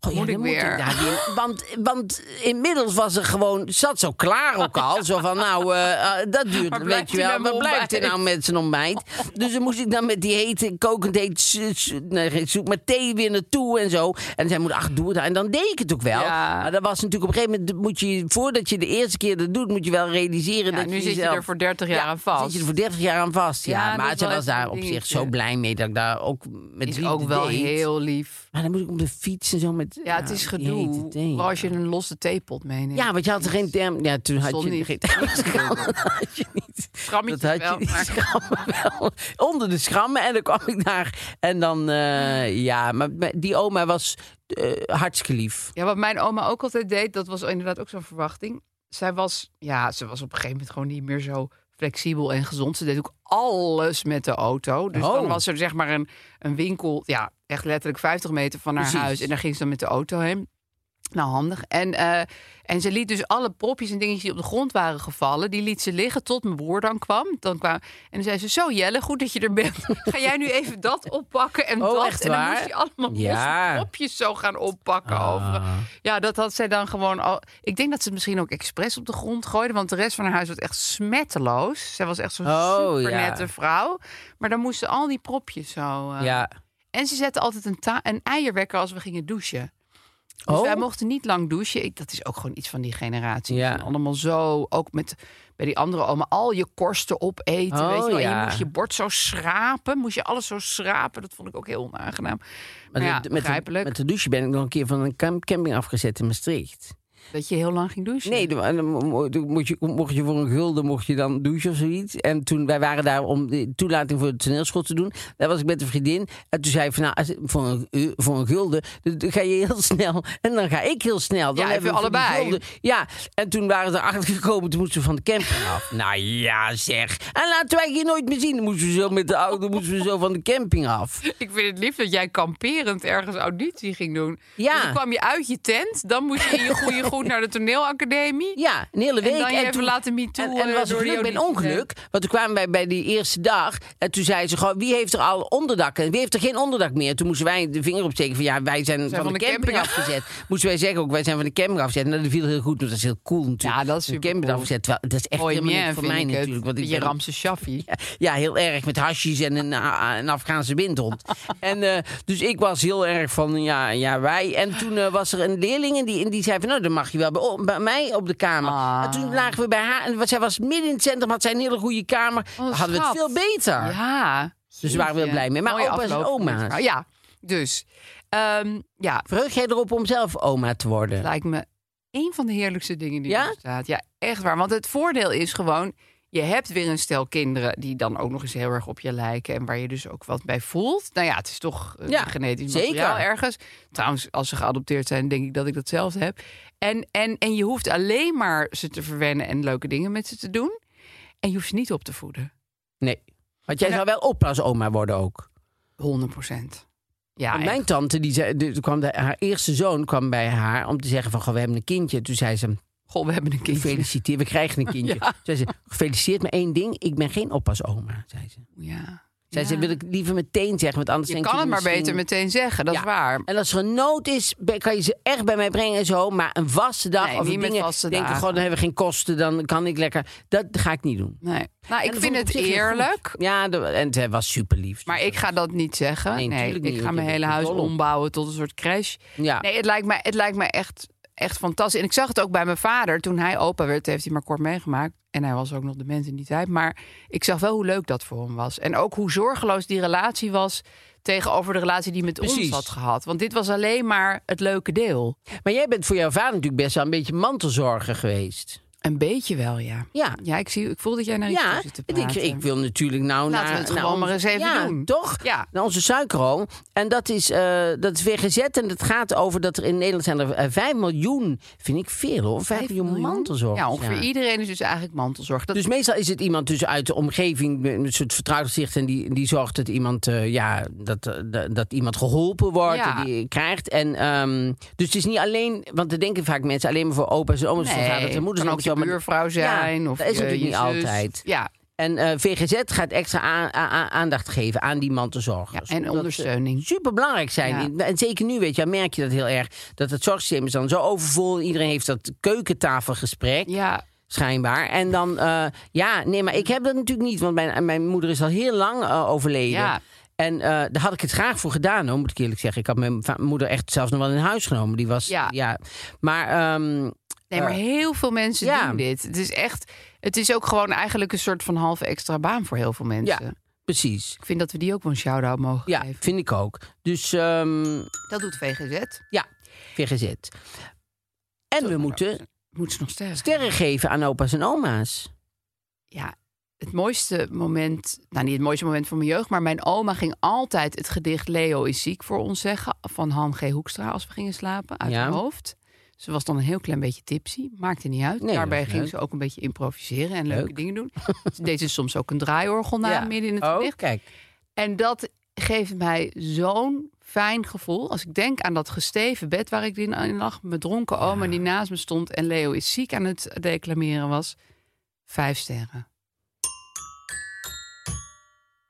S2: Oh, ja,
S3: Moet
S2: dan
S3: ik
S2: moet ik
S3: weer.
S2: daar
S3: [laughs]
S2: weer. Want, want inmiddels was er gewoon, zat zo klaar ook al. Zo van, nou, eh, eh, dat duurt,
S3: Waar
S2: weet
S3: blijft
S2: je
S3: hij
S2: wel.
S3: met mijn
S2: Wat blijft er
S3: ontbijt?
S2: nou met zijn ontbijt? Dus dan moest ik dan met die hete, kokend heet, su- su- nee, geen soep, maar thee weer naartoe en zo. En zij moet, ach, doe het. nou." En dan deed ik het ook wel.
S3: Ja.
S2: Maar dat was natuurlijk op een gegeven moment, moet je, voordat je de eerste keer dat doet, moet je wel realiseren
S3: Ja,
S2: dat
S3: nu
S2: je
S3: zit je
S2: jezelf-
S3: er voor 30 jaar aan
S2: Ja,
S3: vast.
S2: zit je er voor 30 jaar aan vast, ja.
S3: Ja, dat
S2: maar
S3: is
S2: ze
S3: wel
S2: was
S3: even
S2: daar
S3: een
S2: op zich
S3: dingetje.
S2: zo blij mee dat ik daar ook met
S3: Is
S2: wie
S3: ook wel
S2: deed.
S3: heel lief.
S2: Maar dan moet ik op de fiets en zo met...
S3: Ja, het is
S2: die hete
S3: gedoe.
S2: thee.
S3: Vooral als je een losse theepot meeneemt.
S2: Ja, want je had geen term. Ja, toen had
S3: Stond
S2: je
S3: niet.
S2: geen
S3: [laughs]
S2: term. Dat had je niet.
S3: Schrammetjes
S2: dat had je
S3: wel,
S2: niet.
S3: maar-
S2: Schrammen [laughs] wel. Onder de schrammen. En dan kwam ik daar. En dan,
S3: Mm.
S2: eh, ja, maar maar die oma was eh, hartstikke lief.
S3: Ja, wat mijn oma ook altijd deed, dat was inderdaad ook zo'n verwachting. Zij was, ja, ze was op een gegeven moment gewoon niet meer zo flexibel en gezond. Ze deed ook alles met de auto. Dus
S2: Oh.
S3: dan was er zeg maar een, een winkel, ja, echt letterlijk 50 meter van haar
S2: Precies.
S3: huis. En daar ging ze dan met de auto heen. Nou, handig. En, eh, en ze liet dus alle propjes en dingetjes die op de grond waren gevallen, die liet ze liggen tot mijn broer dan kwam. Dan kwam en dan zei ze, zo Jelle, goed dat je er bent. [laughs] Ga jij nu even dat oppakken en
S2: Oh,
S3: dat?
S2: echt
S3: en dan
S2: waar?
S3: moest je allemaal
S2: Ja.
S3: losse propjes zo gaan oppakken
S2: Ah.
S3: over. Ja, dat had zij dan gewoon al. Ik denk dat ze het misschien ook expres op de grond gooide. Want de rest van haar huis was echt smetteloos. Zij was echt zo'n
S2: Oh,
S3: supernette
S2: ja.
S3: vrouw. Maar dan moesten al die propjes zo. eh,
S2: Ja.
S3: En ze zette altijd een, ta- een eierwekker als we gingen douchen. Dus
S2: Oh.
S3: wij mochten niet lang douchen. Ik, dat is ook gewoon iets van die generatie.
S2: Ja.
S3: En allemaal zo, ook met, bij die andere oma, al je korsten opeten.
S2: Oh,
S3: weet je wel. En
S2: ja.
S3: je moest je bord zo schrapen. Moest je alles zo schrapen. Dat vond ik ook heel onaangenaam. Maar,
S2: Maar
S3: ja,
S2: met, de, met, de,
S3: begrijpelijk.
S2: met de douche ben ik nog een keer van een cam- camping afgezet in Maastricht.
S3: Dat je heel lang ging douchen. [laughs]
S2: Nee, dan- dan mo- dan mocht je, mocht je voor een gulden mocht je dan douchen of zoiets. En toen wij waren daar om de toelating voor het toneelschot te doen, daar was ik met een vriendin. En toen zei ik van nou, als- voor een, eh, voor een gulden, dan dan ga je heel snel en dan ga ik heel snel. Dan
S3: Ja,
S2: hebben we
S3: even
S2: voor die
S3: allebei.
S2: gulden- ja, en toen waren ze erachter gekomen, toen moesten we van de camping af. [laughs] Nou ja, zeg. En laten wij je nooit meer zien. Dan moesten we zo met de auto, moesten we zo van de camping af.
S3: Ik vind het lief dat jij kamperend ergens auditie ging doen.
S2: Ja. [laughs]
S3: Dus dan kwam je uit je tent, dan moest je in je goede goed naar de toneelacademie.
S2: Ja, een hele week.
S3: En dan je even
S2: toen-
S3: laten MeToo,
S2: En, en
S3: eh,
S2: was
S3: door
S2: een
S3: de
S2: geluk bij een
S3: auditie heen.
S2: ongeluk. Want toen kwamen wij bij die eerste dag. En toen zei ze gewoon, wie heeft er al onderdak? En wie heeft er geen onderdak meer? Toen moesten wij de vinger opsteken van, ja, wij zijn, van, de, camping, afgezet. [laughs] Moesten wij zeggen ook, wij zijn van de camping afgezet. En dat viel heel goed, want dat is heel cool natuurlijk.
S3: Ja, dat is
S2: de camping
S3: supercool.
S2: afgezet. Terwijl, dat is echt
S3: Hoi,
S2: helemaal
S3: man,
S2: niet voor mij
S3: vind ik het.
S2: natuurlijk. Want ik
S3: je
S2: ben
S3: Ramse Shaffi.
S2: [laughs] ja, heel erg met hasjes en een, ah, een Afghaanse
S3: [laughs]
S2: windhond. en, eh, dus ik was heel erg van, ja, ja wij. En toen eh, was er een leerling en die, en die zei van, nou, dan mag je wel bij, o- bij mij op de kamer.
S3: Ah.
S2: En toen lagen we bij haar. En wat- zij was midden in het centrum, had zij een hele goede kamer.
S3: Oh,
S2: hadden we het
S3: schat.
S2: veel beter.
S3: Ja.
S2: Dus daar waren we heel blij mee. Maar
S3: Mooie
S2: opa's en
S3: afloop van
S2: oma's.
S3: dit verhaal. Ja, dus. ehm, ja,
S2: Verheug jij erop om zelf oma te worden?
S3: lijkt me een van de heerlijkste dingen die
S2: Ja?
S3: er staat. Ja, echt waar. Want het voordeel is gewoon, je hebt weer een stel kinderen die dan ook nog eens heel erg op je lijken en waar je dus ook wat bij voelt. Nou ja, het is toch eh,
S2: Ja,
S3: genetisch
S2: zeker.
S3: materiaal ergens. Trouwens, als ze geadopteerd zijn, denk ik dat ik dat zelf heb. En, en, en je hoeft alleen maar ze te verwennen en leuke dingen met ze te doen. En je hoeft ze niet op te voeden.
S2: Nee. Want jij zou wel opa's oma worden ook.
S3: 100 procent. Ja,
S2: En mijn tante, die zei, die- kwam de- haar eerste zoon kwam bij haar om te zeggen van, goh, we hebben een kindje. Toen zei ze,
S3: Goh, we hebben een kindje.
S2: Gefeliciteerd, we krijgen een
S3: [laughs]
S2: kindje. Zei ze, gefeliciteerd met één ding, ik ben geen oppasoma, zei ze.
S3: Ja.
S2: Zei ze, wil ik liever meteen zeggen, want anders
S3: Je
S2: denk
S3: kan het maar
S2: misschien-
S3: beter meteen zeggen, dat
S2: Ja.
S3: is waar.
S2: En als er een nood is, be- kan je ze echt bij mij brengen en zo. Maar een vaste dag
S3: Nee,
S2: of
S3: niet
S2: dingen
S3: met vaste
S2: denken,
S3: dagen.
S2: gewoon dan hebben we geen kosten, dan kan ik lekker. Dat ga ik niet doen.
S3: Nee. Nou,
S2: En
S3: ik
S2: dat
S3: vind
S2: vond
S3: het
S2: op zich heel goed.
S3: eerlijk,
S2: Ja, de- en zij was super lief.
S3: maar ik ga dat niet zeggen.
S2: Nee,
S3: Nee,
S2: natuurlijk niet,
S3: ik ga
S2: want je
S3: mijn
S2: bent
S3: hele
S2: er
S3: huis
S2: dol op.
S3: ombouwen tot een soort crash.
S2: Ja.
S3: Nee, het lijkt mij, het lijkt mij echt, echt fantastisch. En ik zag het ook bij mijn vader. Toen hij opa werd, heeft hij maar kort meegemaakt. En hij was ook nog dement in die tijd. Maar ik zag wel hoe leuk dat voor hem was. En ook hoe zorgeloos die relatie was tegenover de relatie die hij met
S2: Precies.
S3: ons had gehad. Want dit was alleen maar het leuke deel.
S2: Maar jij bent voor jouw vader natuurlijk best wel een beetje mantelzorger geweest.
S3: Een beetje wel, ja.
S2: Ja.
S3: Ja, ik, zie, ik voel dat jij naar iets
S2: Ja,
S3: toe zit te
S2: ik, denk,
S3: praten.
S2: ik wil natuurlijk nou
S3: Laten
S2: naar...
S3: we het
S2: naar
S3: gewoon
S2: onze-
S3: maar eens even
S2: ja,
S3: doen.
S2: toch?
S3: Ja.
S2: Naar onze suikeroom. En dat is, eh dat is weer gezet. En dat gaat over dat er in Nederland zijn er eh, 5 miljoen, vind ik veel hoor, 5 miljoen mantelzorgers.
S3: Ja, ongeveer iedereen is dus eigenlijk mantelzorg. Dat,
S2: Dus meestal is het iemand dus uit de omgeving, met een soort vertrouwd gezicht... en die, die zorgt dat iemand, eh, ja, dat, eh, dat, dat iemand geholpen wordt,
S3: Ja.
S2: en die krijgt. En, ehm, dus het is niet alleen, want er denken vaak mensen... alleen maar voor opa's en oma's,
S3: nee,
S2: voor vaders en moeders.
S3: kan
S2: en
S3: ook
S2: zo,
S3: je
S2: maar-
S3: buurvrouw zijn.
S2: Ja,
S3: of
S2: dat is
S3: je-
S2: natuurlijk
S3: je
S2: niet
S3: zus.
S2: altijd.
S3: Ja,
S2: En eh, VGZ gaat extra aan- a- a- aandacht geven aan die
S3: ja
S2: mantelzorgers.
S3: en ondersteuning.
S2: Superbelangrijk zijn.
S3: Ja.
S2: In- En zeker nu, weet je, dan merk je dat heel erg. Dat het zorgsysteem is dan zo overvol. Iedereen heeft dat keukentafelgesprek,
S3: Ja,
S2: schijnbaar. En dan, eh, ja, nee, maar ik heb dat natuurlijk niet. Want mijn, mijn moeder is al heel lang eh, overleden.
S3: Ja.
S2: En eh, daar had ik het graag voor gedaan, hoor, moet ik eerlijk zeggen. Ik had mijn va- moeder echt zelfs nog wel in huis genomen. Die was, ja.
S3: Ja.
S2: Maar ehm,
S3: nee, maar heel veel mensen
S2: ja.
S3: doen dit. Het is echt, het is ook gewoon eigenlijk een soort van halve extra baan voor heel veel mensen.
S2: ja, precies.
S3: Ik vind dat we die ook wel een shout-out mogen
S2: Ja,
S3: geven.
S2: vind ik ook. Dus ehm,
S3: Dat doet VGZ.
S2: Ja, VGZ. En we moeten
S3: Moet ze nog sterren.
S2: sterren geven aan opa's en oma's.
S3: ja, het mooiste moment, nou niet het mooiste moment van mijn jeugd, maar mijn oma ging altijd het gedicht Leo is ziek voor ons zeggen van Han G. Hoekstra als we gingen slapen uit
S2: Ja.
S3: haar hoofd. Ze was dan een heel klein beetje tipsy, maakte niet uit.
S2: Nee,
S3: Daarbij
S2: dat is
S3: ging
S2: leuk.
S3: ze ook een beetje improviseren en
S2: Leuk.
S3: leuke dingen
S2: [laughs]
S3: doen. ze deed ze soms ook een draaiorgel na Nou, midden in het
S2: oh,
S3: gedicht.
S2: kijk.
S3: En dat geeft mij zo'n fijn gevoel. Als ik denk aan dat gesteven bed waar ik in in lag. Mijn dronken oma die naast me stond. En Leo is ziek aan het declameren was. Vijf sterren.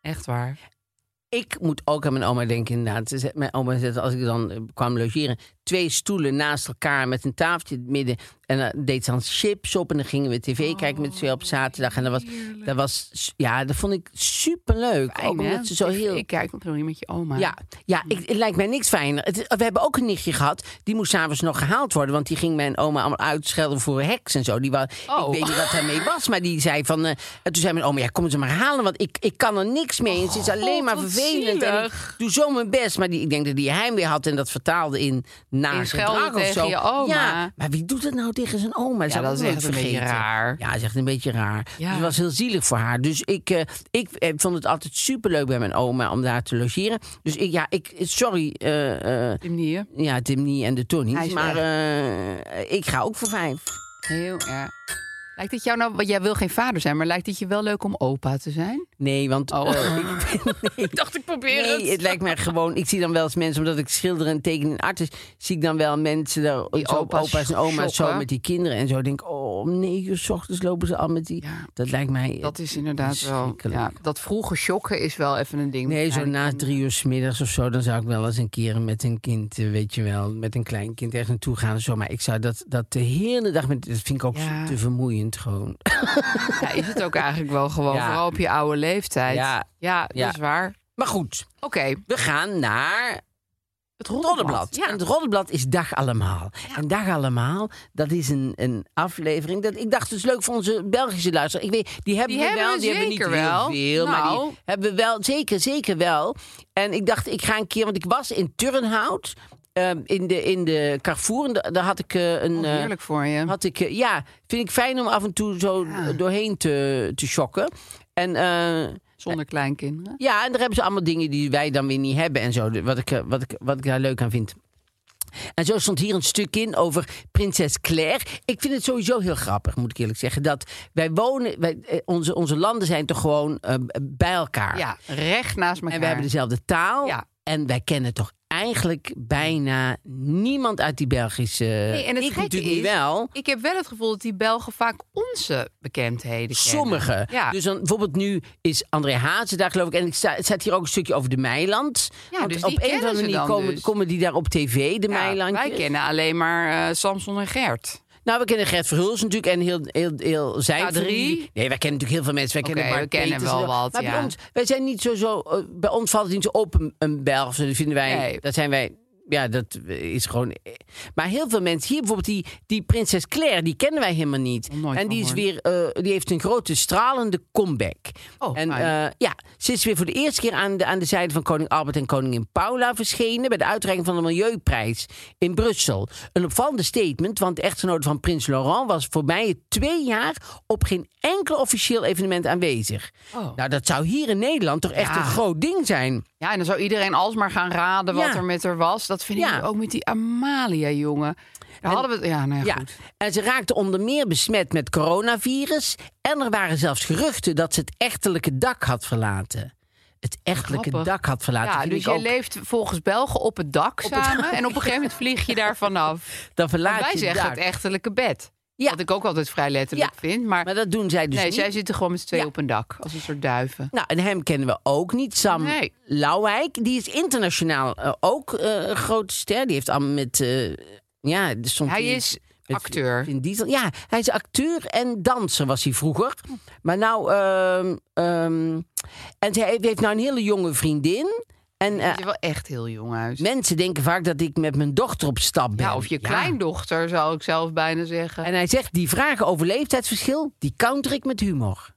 S3: Echt waar.
S2: Ik moet ook aan mijn oma denken, inderdaad. Ze zei- Mijn oma zette, als ik dan eh, kwam logeren, twee stoelen naast elkaar met een tafeltje in het midden. En dan deed ze dan chips op en dan gingen we
S3: Oh,
S2: tv kijken met z'n tweeën op zaterdag. En dat was, dat was, ja, dat vond ik superleuk.
S3: Fijn,
S2: ook
S3: hè?
S2: omdat ze zo
S3: Ik-
S2: heel...
S3: Ik kijk nog niet met je oma.
S2: Ja, ja ik, het lijkt mij niks fijner. Het, we hebben ook een nichtje gehad. Die moest s'avonds nog gehaald worden. Want die ging mijn oma allemaal uitschelden voor heks en zo. Die was,
S3: Oh.
S2: Ik weet niet wat daarmee was. Maar die zei van... eh, en toen zei mijn oma, ja, kom ze maar halen. Want ik, ik kan er niks mee. het is alleen maar
S3: Oh, wat
S2: vervelend. En ik
S3: zielig.
S2: doe zo mijn best. Maar die, ik denk dat die heimwee had. En dat vertaalde in naar
S3: In schelden
S2: gedrag of
S3: tegen
S2: zo.
S3: je oma.
S2: Ja, maar wie doet dat nou tegen zijn oma?
S3: Ja, dat is echt een beetje raar.
S2: Ja, is echt een beetje raar.
S3: Ja.
S2: Dus het was heel zielig voor haar. Dus ik, eh, ik eh, vond het altijd superleuk bij mijn oma om daar te logeren. Dus ik, ja, ik, sorry, eh, eh,
S3: Op die manier.
S2: ja, Timmy en de
S3: Hij
S2: Tonies.
S3: is
S2: Maar eh, ik ga ook voor vijf.
S3: Heel erg. Lijkt het jou nou, want jij wil geen vader zijn, maar lijkt het je wel leuk om opa te zijn?
S2: Nee, want...
S3: [laughs] Oh.
S2: eh, ik- nee.
S3: dacht, ik probeer
S2: Nee, het lijkt mij gewoon... Ik zie dan wel eens mensen, omdat ik schilder en teken en arts is... zie ik dan wel mensen, daar,
S3: Die
S2: zo,
S3: opa's
S2: opa's, en oma's, zo
S3: shoppen.
S2: met die kinderen en zo. Ik denk oh, om negen uur 's ochtends lopen ze al met die...
S3: Ja.
S2: Dat lijkt mij...
S3: Dat is inderdaad wel.
S2: verschrikkelijk.
S3: Ja, dat vroege shocken is wel even een ding.
S2: Nee, zo
S3: Ja, [laughs]
S2: na drie uur 's middags of zo, dan zou ik wel eens een keer met een kind, eh, weet je wel, met een kleinkind ergens naartoe gaan. en Zo. Maar ik zou dat, dat de hele dag met. Dat vind ik ook
S3: Ja.
S2: te vermoeiend gewoon.
S3: Ja, is het ook eigenlijk wel gewoon,
S2: Ja.
S3: vooral op je oude leeftijd.
S2: Ja.
S3: ja,
S2: Ja.
S3: dat is waar.
S2: Maar goed,
S3: Oké,
S2: we gaan naar
S3: het
S2: Roddenblad.
S3: Ja.
S2: En het Roddenblad is Dag Allemaal. En Dag Allemaal, dat is een, een aflevering. Dat, ik dacht, het is leuk voor onze Belgische luisteraar. Ik weet, die hebben
S3: Die
S2: we
S3: hebben
S2: wel,
S3: we
S2: die hebben we niet
S3: zeker wel.
S2: heel veel. Maar
S3: Nou.
S2: die hebben we wel, zeker, zeker wel. En ik dacht, ik ga een keer, want ik was in Turnhout... ehm, in, de, in de Carrefour, en da- daar had ik eh, een... eh,
S3: Oh, Heerlijk voor je.
S2: had ik, eh, ja, vind ik fijn om af en toe zo doorheen te, te shocken. En eh,
S3: Zonder kleinkinderen.
S2: ja, en daar hebben ze allemaal dingen die wij dan weer niet hebben en zo. Wat ik, eh, wat ik, wat ik daar leuk aan vind. En zo stond hier een stuk in over prinses Claire. Ik vind het sowieso heel grappig, moet ik eerlijk zeggen. Dat wij wonen, wij, eh, onze, onze landen zijn toch gewoon eh, bij elkaar.
S3: Ja, recht naast elkaar.
S2: En we hebben dus- dezelfde taal.
S3: Ja.
S2: En wij kennen toch eigenlijk bijna niemand uit die Belgische...
S3: Nee, en het
S2: ik
S3: gekke
S2: natuurlijk
S3: is-
S2: niet wel.
S3: Ik heb wel het gevoel dat die Belgen vaak onze bekendheden kennen.
S2: Sommige.
S3: Ja.
S2: Dus dan, bijvoorbeeld nu is André Hazen daar geloof ik. En ik sta, het staat hier ook een stukje over de Meiland.
S3: Ja,
S2: Want
S3: dus
S2: op
S3: die
S2: een of
S3: kennen
S2: andere
S3: ze
S2: manier
S3: dan
S2: komen,
S3: dus.
S2: komen die daar op tv, de
S3: Ja,
S2: Meilandjes.
S3: wij kennen alleen maar eh, Samson en Gert.
S2: Nou, we kennen Gert Verhulst natuurlijk en heel, heel, heel zijn
S3: K3.
S2: familie. Nee, wij kennen natuurlijk heel veel mensen. Wij
S3: Oké,
S2: kennen Bart
S3: we kennen
S2: Peters
S3: wel
S2: en zo.
S3: wat,
S2: Maar bij
S3: ja.
S2: ons, wij zijn niet zo, zo eh, bij ons valt het niet zo op een, een Belg. Dat vinden wij,
S3: Nee.
S2: dat zijn wij, ja, dat is gewoon. eh, Maar heel veel mensen hier, bijvoorbeeld die, die prinses Claire, die kennen wij helemaal niet.
S3: Nog Oh, nooit
S2: en
S3: van
S2: die is
S3: gehoord.
S2: weer, eh, die heeft een grote stralende comeback.
S3: Oh,
S2: en
S3: fijn.
S2: eh, ja, ze is weer voor de eerste keer aan de, aan de zijde van koning Albert en koningin Paula verschenen bij de uitreiking van de Milieuprijs in Brussel. Een opvallende statement, want de echtgenote van prins Laurent was voorbij het twee jaar op geen enkel officieel evenement aanwezig.
S3: Oh.
S2: Nou, dat zou hier in Nederland toch echt
S3: Ja.
S2: een groot ding zijn.
S3: Ja, en dan zou iedereen alsmaar gaan raden wat
S2: Ja.
S3: er met haar was. Dat vind ik
S2: Ja.
S3: nu ook met die Amalia, jongen. Daar hadden we het... Ja, nou ja,
S2: Ja,
S3: goed.
S2: en ze raakte onder meer besmet met coronavirus. En er waren zelfs geruchten dat ze het echtelijke dak had verlaten. Het echtelijke
S3: Grappig.
S2: dak had verlaten.
S3: Ja,
S2: Vind
S3: dus
S2: ik
S3: jij
S2: ook-
S3: leeft volgens Belgen op het dak samen. En op een gegeven moment vlieg je daar
S2: [laughs]
S3: vanaf.
S2: dan verlaat
S3: Want wij
S2: je
S3: zeggen
S2: dak.
S3: het echtelijke bed.
S2: Ja.
S3: Wat ik ook altijd vrij letterlijk
S2: Ja.
S3: vind. Maar,
S2: Maar dat doen zij dus
S3: nee,
S2: niet.
S3: zij zitten gewoon met z'n tweeën
S2: Ja.
S3: op een dak. Als een soort duiven.
S2: Nou, en hem kennen we ook niet. Sam
S3: Nee.
S2: Lauwijk, die is internationaal eh, ook eh, een grote ster. Die heeft allemaal met... eh, ja, dus soms
S3: Hij
S2: die-
S3: is
S2: met
S3: acteur.
S2: Vin Diesel. Ja, hij is acteur en danser was hij vroeger. Maar nou... ehm, ehm, en hij heeft- heeft nou een hele jonge vriendin. En eh,
S3: Je ziet er wel echt heel jong uit.
S2: mensen denken vaak dat ik met mijn dochter op stap ben.
S3: Ja, of je
S2: Ja.
S3: kleindochter, zou ik zelf bijna zeggen.
S2: En hij zegt, die vragen over leeftijdsverschil, die counter ik met humor.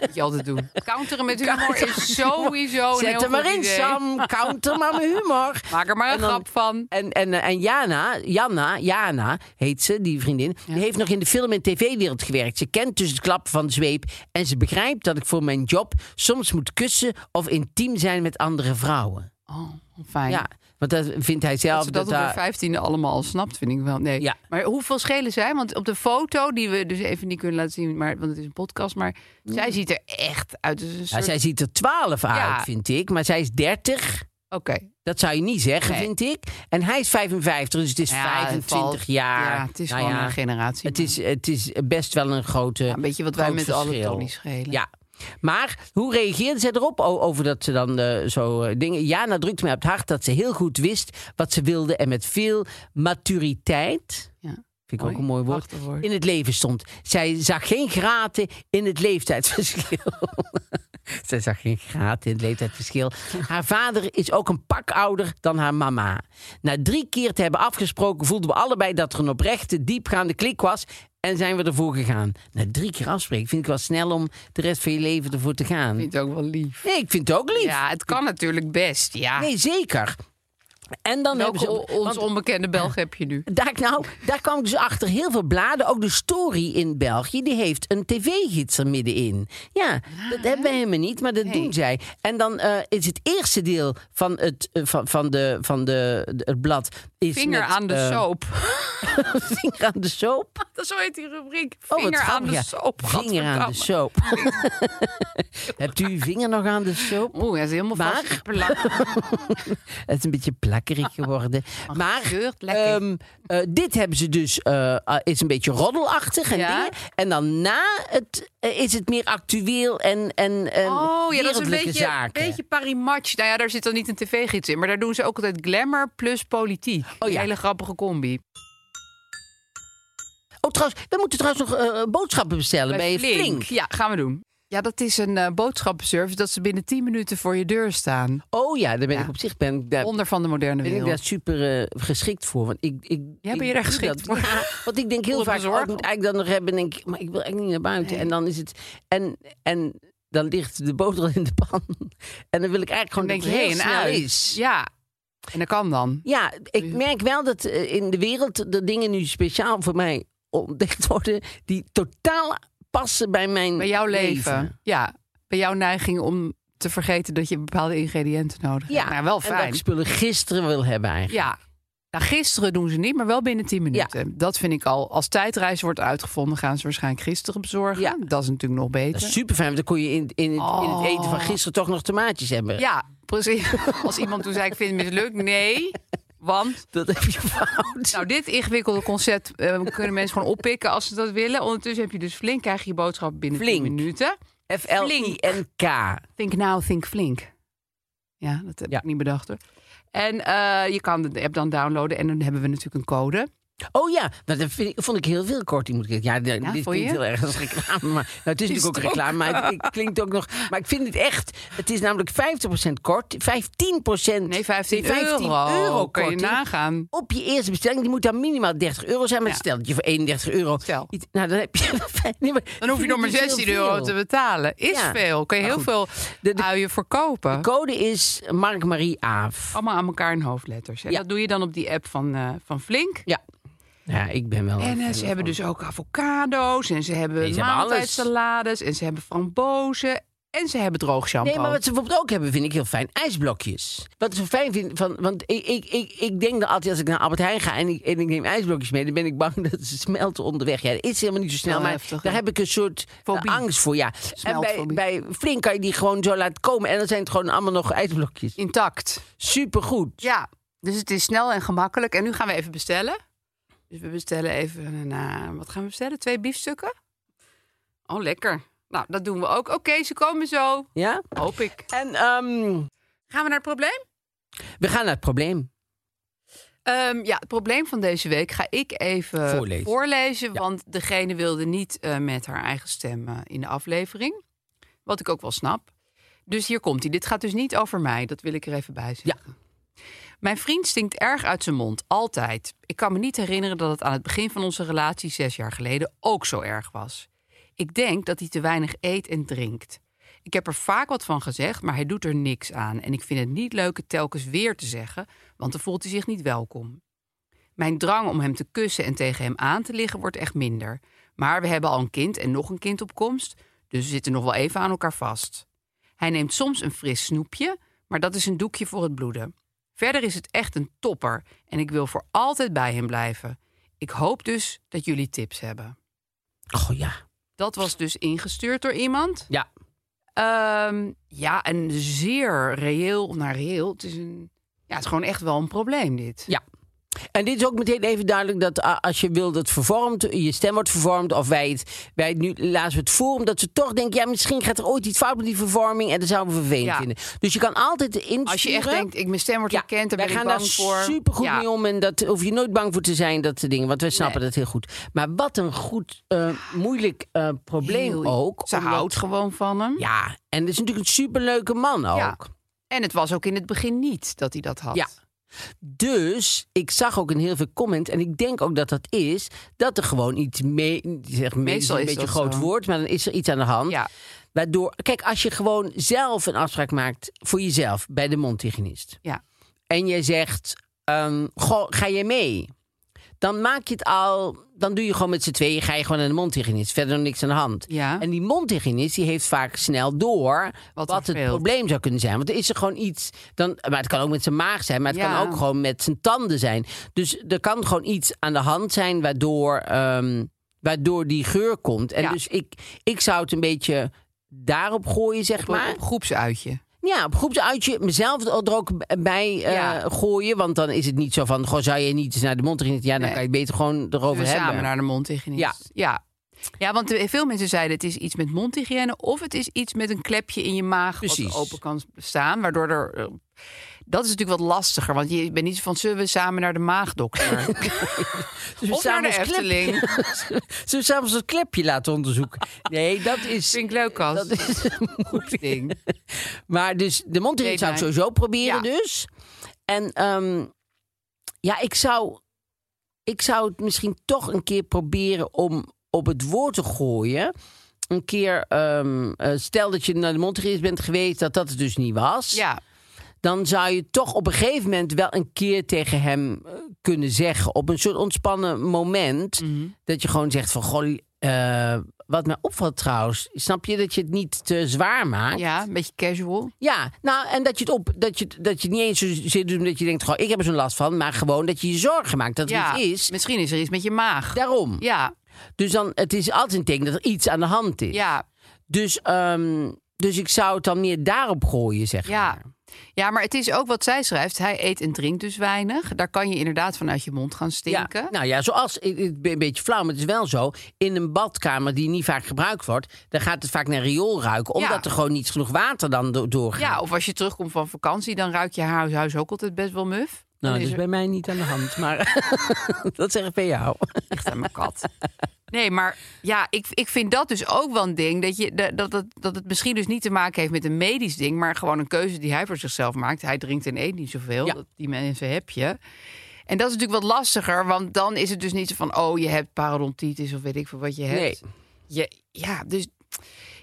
S3: moet je altijd
S2: [laughs]
S3: doen. Counteren met humor is sowieso Oh, een heel
S2: Zet er maar
S3: goed
S2: in,
S3: idee.
S2: Sam. Counter maar mijn
S3: [laughs]
S2: humor.
S3: Maak er maar een
S2: En dan-
S3: grap van.
S2: En, en, eh, en Jana, Jana, Jana heet ze, die vriendin, die heeft nog in de film- en tv-wereld gewerkt. Ze kent dus het klap van de zweep en ze begrijpt dat ik voor mijn job soms moet kussen of intiem zijn met andere vrouwen.
S3: Oh, fijn.
S2: Ja, want dat vindt hij zelf.
S3: dat ze dat, op
S2: daar-
S3: de vijftiende allemaal al snapt, vind ik wel. Nee.
S2: Ja.
S3: Maar hoeveel schelen zij? Want op de foto, die we dus even niet kunnen laten zien, maar, want het is een podcast, maar zij ziet er echt uit. als een
S2: Mm. Ja,
S3: soort...
S2: zij ziet er 12
S3: Ja.
S2: uit, vind ik, maar zij is 30.
S3: Oké.
S2: Dat zou je niet zeggen,
S3: Nee.
S2: vind ik. En hij is 55, dus het is
S3: Ja, het
S2: 25
S3: valt-
S2: jaar.
S3: Ja, het is
S2: Nou
S3: gewoon
S2: ja,
S3: een generatie.
S2: Het is, het is best wel een grote.
S3: Ja, een beetje wat wij
S2: groot
S3: met alle
S2: verschil.
S3: Tony's schelen.
S2: Ja. Maar hoe reageerde zij erop O- over dat ze dan eh, zo eh, dingen... Jana drukte mij op het hart dat ze heel goed wist wat ze wilde... en met veel maturiteit,
S3: Ja.
S2: vind ik
S3: Mooi,
S2: ook een mooi woord,
S3: prachtig woord.
S2: in het leven stond. Zij zag geen graten in het leeftijdsverschil. [laughs] Zij zag geen graad in het leeftijdsverschil. Haar vader is ook een pak ouder dan haar mama. Na drie keer te hebben afgesproken voelden we allebei dat er een oprechte, diepgaande klik was. En zijn we ervoor gegaan. Na drie keer afspreken vind ik wel snel om de rest van je leven ervoor te gaan.
S3: Ik vind het ook wel lief.
S2: Nee, ik vind het ook lief.
S3: Ja, het kan natuurlijk best. Ja.
S2: Nee, zeker. En dan
S3: Welke
S2: hebben ze...
S3: o- ons
S2: want-
S3: onbekende Belg heb je nu?
S2: daar, nou, daar kwam ik dus achter. Heel veel bladen, ook de Story in België, die heeft een tv-gids er middenin. Ja,
S3: Ah.
S2: dat hebben we helemaal niet, maar dat doen zij. En dan eh, is het eerste deel van het, eh, van, van de, van de, de- het blad is
S3: Vinger
S2: met,
S3: aan de
S2: eh,
S3: soap.
S2: [laughs]
S3: [laughs]
S2: vinger aan de soap.
S3: Dat zo heet die rubriek.
S2: Oh, wat
S3: Vinger aan
S2: grappig,
S3: de
S2: ja.
S3: soap.
S2: Vinger aan de
S3: Gadverdamme.
S2: soap.
S3: [laughs]
S2: [laughs] Hebt u uw vinger nog aan de soap?
S3: Oeh, hij is helemaal
S2: Maar-
S3: vastgeplakt.
S2: Het is een beetje
S3: [laughs]
S2: plakkerig geworden. maar
S3: geurt lekker.
S2: ehm, eh, dit hebben ze dus, eh, ah, is een beetje roddelachtig en
S3: Ja.
S2: dingen. En dan na het eh, is het meer actueel en, en, en
S3: Oh ja, dat is een
S2: wereldlijke
S3: beetje, een
S2: zaken.
S3: beetje parimatch. Nou ja, daar zit dan niet een tv-gids in. Maar daar doen ze ook altijd glamour plus politiek.
S2: Oh ja.
S3: Een hele grappige combi.
S2: Oh, trouwens, we moeten trouwens nog eh, boodschappen bestellen bij, Flink.
S3: Ja, gaan we doen. Ja, dat is een eh, boodschappenservice dat ze binnen 10 minuten voor je deur staan.
S2: Oh ja, daar ben
S3: Ja.
S2: ik op zich ben ik daar,
S3: Onder van de moderne
S2: ben ik
S3: wereld.
S2: daar super eh, geschikt voor. Want ik, ik,
S3: Ja,
S2: ik
S3: ben je daar
S2: doe dat.
S3: geschikt voor?
S2: Ja, [laughs] want ik denk heel
S3: Voel
S2: vaak,
S3: het
S2: oh, ik
S3: bezorgd?
S2: moet eigenlijk dat nog hebben. En denk ik, maar ik wil eigenlijk niet naar buiten. En dan is het... En, en dan ligt de boter al in de pan. [laughs] En dan wil ik eigenlijk gewoon
S3: Dan denk
S2: dat het
S3: je,
S2: heel
S3: heen en
S2: snel
S3: uit.
S2: is.
S3: Ja, en dat kan dan.
S2: Ja, ik merk wel dat eh, in de wereld de dingen nu speciaal voor mij ontdekt worden... die totaal passen bij mijn
S3: Bij jouw leven. Ja, bij jouw neiging om te vergeten dat je bepaalde ingrediënten nodig hebt.
S2: Ja,
S3: Nou, wel
S2: en dat
S3: fijn.
S2: ik spullen gisteren wil hebben eigenlijk.
S3: Ja. Nou, gisteren doen ze niet, maar wel binnen 10 minuten. Dat vind ik al. Als tijdreis wordt uitgevonden, gaan ze waarschijnlijk gisteren bezorgen.
S2: Ja.
S3: Dat is natuurlijk nog beter.
S2: Dat is super fijn, want dan kon je in, in, het, in het eten van
S3: Oh.
S2: gisteren toch nog tomaatjes hebben.
S3: Ja, precies. [laughs] Als iemand toen zei, ik vind het mislukt. Nee, want...
S2: Dat heb je fout.
S3: Nou, dit ingewikkelde concept eh, kunnen mensen gewoon oppikken als ze dat willen. Ondertussen heb je dus flink, krijg je je boodschap binnen 10
S2: Flink.
S3: minuten.
S2: F-L-I-N-K.
S3: Think now, think flink. Ja, dat heb
S2: Ja.
S3: ik niet bedacht hoor. En eh, je kan de app dan downloaden en dan hebben we natuurlijk een code.
S2: Oh ja, nou, dat vind ik, vond ik heel veel korting. Moet ik, zeggen. ja, de-
S3: Ja,
S2: dit
S3: vond je?
S2: klinkt heel erg als reclame. Maar, nou, het is,
S3: Is
S2: natuurlijk ook
S3: het ook?
S2: reclame, maar het, het klinkt ook nog... Maar ik vind het echt... Het is namelijk 50% kort, 15%...
S3: Nee, 15, euro. Kun je
S2: korting
S3: nagaan.
S2: Op je eerste bestelling, die moet dan minimaal 30 euro zijn. Maar
S3: Ja.
S2: stel dat je voor 31 euro...
S3: Stel.
S2: iets- nou, dan heb je... [laughs] Nee, maar
S3: Dan hoef je
S2: ik
S3: nog maar
S2: dus heel
S3: 16 euro
S2: veel.
S3: te betalen. Is
S2: Ja.
S3: veel. Kun je
S2: Maar
S3: heel veel
S2: De- de-
S3: uien verkopen.
S2: Code is Mark Marie Aaf.
S3: Allemaal aan elkaar in hoofdletters. En
S2: Ja.
S3: dat doe je dan op die app van, eh, van Flink.
S2: Ja. Ja, ik ben wel.
S3: En
S2: een
S3: eh,
S2: fan
S3: ze hebben
S2: ervan.
S3: dus ook avocado's. En ze hebben
S2: Nee, ze hebben alles.
S3: maaltijdsalades. En ze hebben frambozen. En ze hebben droog shampoo.
S2: Nee, maar wat ze bijvoorbeeld ook hebben, vind ik heel fijn. IJsblokjes. Wat ik zo fijn vind, van, want ik, ik, ik, ik denk dat altijd als ik naar Albert Heijn ga en ik, en ik neem ijsblokjes mee, dan ben ik bang [laughs] dat ze smelten onderweg. Ja, dat is helemaal niet zo snel,
S3: Wel
S2: maar
S3: heftig,
S2: daar
S3: hè?
S2: heb ik een soort eh,
S3: Fobie.
S2: angst voor. Ja. En bij,
S3: Smeltfobie.
S2: bij Flink kan je die gewoon zo laten komen en dan zijn het gewoon allemaal nog ijsblokjes.
S3: Intact.
S2: Supergoed.
S3: Ja, dus het is snel en gemakkelijk. En nu gaan we even bestellen. Dus we bestellen even een... eh, wat gaan we bestellen? Twee biefstukken? Oh, lekker. Nou, dat doen we ook. Oké, ze komen zo.
S2: Ja?
S3: Hoop ik.
S2: En ehm,
S3: Gaan we naar het probleem?
S2: we gaan naar het probleem.
S3: Ehm, ja, het probleem van deze week ga ik even
S2: Voorlezen.
S3: voorlezen. Want degene wilde niet eh, met haar eigen stem eh, in de aflevering. Wat ik ook wel snap. Dus hier komt hij. Dit gaat dus niet over mij. Dat wil ik er even bij zeggen. Mijn vriend stinkt erg uit zijn mond. Altijd. Ik kan me niet herinneren dat het aan het begin van onze relatie zes jaar geleden ook zo erg was. Ik denk dat hij te weinig eet en drinkt. Ik heb er vaak wat van gezegd, maar hij doet er niks aan. En ik vind het niet leuk het telkens weer te zeggen, want dan voelt hij zich niet welkom. Mijn drang om hem te kussen en tegen hem aan te liggen wordt echt minder. Maar we hebben al een kind en nog een kind op komst, dus we zitten nog wel even aan elkaar vast. Hij neemt soms een fris snoepje, maar dat is een doekje voor het bloeden. Verder is het echt een topper en ik wil voor altijd bij hem blijven. Ik hoop dus dat jullie tips hebben.
S2: Oh ja.
S3: Dat was dus ingestuurd door iemand.
S2: Ja.
S3: Ehm, ja, en zeer reëel naar reëel. Het is, een, ja, het is gewoon echt wel een probleem, dit.
S2: Ja. En dit is ook meteen even duidelijk dat a- als je wil dat het vervormt, je stem wordt vervormd, of wij het, wij het nu lazen we het voor, omdat ze toch denken, ja, misschien gaat er ooit iets fout met die vervorming en dat zouden we vervelend
S3: Ja.
S2: vinden. Dus je kan altijd insturen.
S3: Als je echt denkt, ik, mijn stem wordt
S2: ja,
S3: herkend, daar
S2: wij
S3: ben ik
S2: gaan
S3: bang
S2: daar
S3: voor.
S2: supergoed
S3: ja.
S2: mee om en dat hoef je nooit bang voor te zijn, dat soort dingen, want wij snappen
S3: Nee.
S2: dat heel goed. Maar wat een goed, eh, moeilijk eh, probleem
S3: Heel-
S2: ook.
S3: Ze
S2: omdat-
S3: houdt gewoon van hem.
S2: Ja, en het is natuurlijk een superleuke man ook.
S3: Ja. En het was ook in het begin niet dat hij dat had.
S2: Ja. Dus ik zag ook in heel veel comment, en ik denk ook dat dat is, dat er gewoon iets mee. Zeg, mee is
S3: Meestal
S2: een
S3: is
S2: beetje een
S3: dat
S2: groot
S3: zo.
S2: woord, maar dan is er iets aan de hand.
S3: Ja.
S2: Waardoor, kijk, als je gewoon zelf een afspraak maakt voor jezelf bij de mondhygiënist.
S3: Ja.
S2: En jij zegt, ehm, goh, ga je mee? dan maak je het al. Dan doe je gewoon met z'n tweeën, ga je gewoon naar de mondhygiënist. Verder nog niks aan de hand.
S3: Ja.
S2: En die mondhygiënist die heeft vaak snel door wat,
S3: Wat er
S2: het
S3: speelt.
S2: probleem zou kunnen zijn. Want er is er gewoon iets. Dan, maar het kan ook met zijn maag zijn, maar het
S3: Ja.
S2: kan ook gewoon met zijn tanden zijn. Dus er kan gewoon iets aan de hand zijn waardoor, ehm, waardoor die geur komt. En
S3: Ja.
S2: dus ik, ik zou het een beetje daarop gooien, zeg
S3: Op,
S2: maar.
S3: op groepsuitje.
S2: Ja, op groepsuitje mezelf er ook b- bij eh,
S3: Ja.
S2: gooien. Want dan is het niet zo van, goh, zou je niet eens naar de mond Ja, dan
S3: Nee.
S2: kan je het beter gewoon erover
S3: we
S2: hebben.
S3: samen naar de mondhygiënist.
S2: Ja.
S3: ja. Ja, want eh, veel mensen zeiden het is iets met mondhygiëne... of het is iets met een klepje in je maag
S2: Precies.
S3: wat open kan staan. Waardoor er... eh, Dat is natuurlijk wat lastiger, want je bent niet zo van... zullen we samen naar de
S2: [laughs]
S3: maagdokter?
S2: Dus we
S3: of naar
S2: samen
S3: de
S2: ons klep-
S3: Efteling.
S2: Zullen we samen ons klepje laten onderzoeken?
S3: [laughs]
S2: Nee, dat is...
S3: Vind ik leuk, Cas.
S2: Dat is een moeilijk
S3: ding.
S2: Maar dus de mondhygiëne
S3: Weet
S2: zou ik
S3: mij.
S2: sowieso proberen
S3: Ja.
S2: dus. En ehm, ja, ik zou, ik zou het misschien toch een keer proberen om op het woord te gooien. Een keer, ehm, eh, stel dat je naar de mondhygiënist bent geweest, dat dat het dus niet was.
S3: Ja,
S2: Dan zou je toch op een gegeven moment wel een keer tegen hem eh, kunnen zeggen. Op een soort ontspannen moment.
S3: Mhm.
S2: Dat je gewoon zegt van, goh, eh, wat mij opvalt trouwens. Snap je dat je het niet te zwaar maakt?
S3: ja, een beetje casual.
S2: Ja, nou, en dat je het op, dat je, dat je het niet eens zozeer doet omdat je denkt, goh, ik heb er zo'n last van, maar gewoon dat je je zorgen maakt dat er
S3: ja,
S2: iets is.
S3: misschien is er iets met je maag.
S2: Daarom.
S3: Ja,
S2: Dus dan, het is altijd een teken dat er iets aan de hand is.
S3: ja,
S2: Dus, ehm, dus ik zou het dan meer daarop gooien, zeg
S3: ja.
S2: maar.
S3: Ja, maar het is ook wat zij schrijft. Hij eet en drinkt dus weinig. Daar kan je inderdaad vanuit je mond gaan stinken.
S2: Ja, nou ja, zoals, ik- ik ben een beetje flauw, maar het is wel zo. In een badkamer die niet vaak gebruikt wordt, dan gaat het vaak naar riool ruiken. Omdat
S3: Ja.
S2: er gewoon niet genoeg water dan do- doorgaat.
S3: Ja, of als je terugkomt van vakantie, dan ruikt je huis, huis ook altijd best wel muf.
S2: nou,
S3: Dan
S2: dat
S3: is
S2: is
S3: er-
S2: bij mij niet aan de hand, maar [laughs] dat zeg ik bij jou.
S3: ligt aan mijn kat. Nee, maar ja, ik, ik vind dat dus ook wel een ding. Dat, je, dat, dat, dat het misschien dus niet te maken heeft met een medisch ding, maar gewoon een keuze die hij voor zichzelf maakt. Hij drinkt en eet niet zoveel.
S2: Ja.
S3: Dat, die mensen heb je. En dat is natuurlijk wat lastiger, want dan is het dus niet zo van, oh, je hebt parodontitis of weet ik veel wat je hebt.
S2: Nee.
S3: Je, ja, dus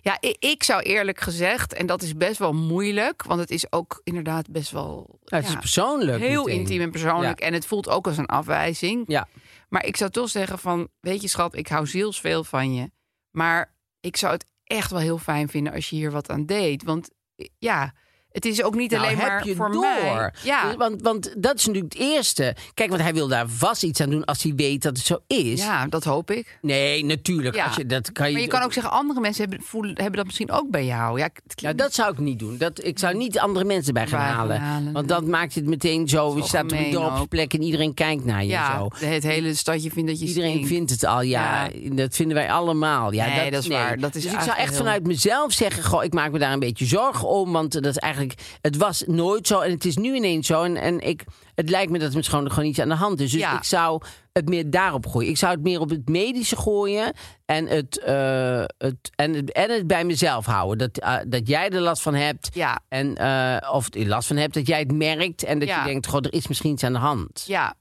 S3: ja, ik, ik zou eerlijk gezegd, en dat is best wel moeilijk, want het is ook inderdaad best wel
S2: Ja, het is
S3: ja,
S2: persoonlijk.
S3: heel
S2: meteen.
S3: intiem en persoonlijk.
S2: Ja.
S3: En het voelt ook als een afwijzing.
S2: Ja.
S3: Maar ik zou toch zeggen van, weet je schat, ik hou zielsveel van je. Maar ik zou het echt wel heel fijn vinden als je hier wat aan deed. Want eh, ja, het is ook niet
S2: Nou,
S3: alleen
S2: heb
S3: maar
S2: je
S3: voor
S2: door.
S3: mij. Ja,
S2: Dus- want, want dat is natuurlijk het eerste. Kijk, want hij wil daar vast iets aan doen als hij weet dat het zo is.
S3: ja, dat hoop ik.
S2: Nee, natuurlijk.
S3: Ja.
S2: Als je, dat kan je,
S3: Maar je kan ook zeggen, andere mensen hebben, voelen, hebben dat misschien ook bij jou. Ja, het
S2: Nou,
S3: klinkt
S2: dat zou ik niet doen. Dat, ik zou niet andere mensen bij gaan
S3: Bij gaan
S2: halen.
S3: halen,
S2: Want
S3: nee.
S2: dat maakt het meteen zo. Je
S3: wel
S2: staat op een
S3: gemeen
S2: dorpsplek en iedereen kijkt naar je.
S3: ja,
S2: zo.
S3: het hele stadje vindt dat je
S2: Iedereen
S3: stinkt.
S2: vindt het al, ja. Dat vinden wij allemaal. Ja,
S3: Nee, dat is waar. Dat
S2: dus
S3: is
S2: ik zou
S3: eigenlijk
S2: echt
S3: heel-
S2: vanuit mezelf zeggen... Goh, ik maak me daar een beetje zorgen om. Want dat is eigenlijk, het was nooit zo en het is nu ineens zo. En, en ik, het lijkt me dat er gewoon, gewoon iets aan de hand is. Dus
S3: Ja.
S2: ik zou het meer daarop gooien. Ik zou het meer op het medische gooien. En het, eh, het, en het, en het bij mezelf houden. Dat, eh, dat jij er last van hebt.
S3: Ja.
S2: En, eh, of er last van hebt, dat jij het merkt. En dat
S3: Ja.
S2: je denkt, goh, er is misschien iets aan de hand.
S3: Ja.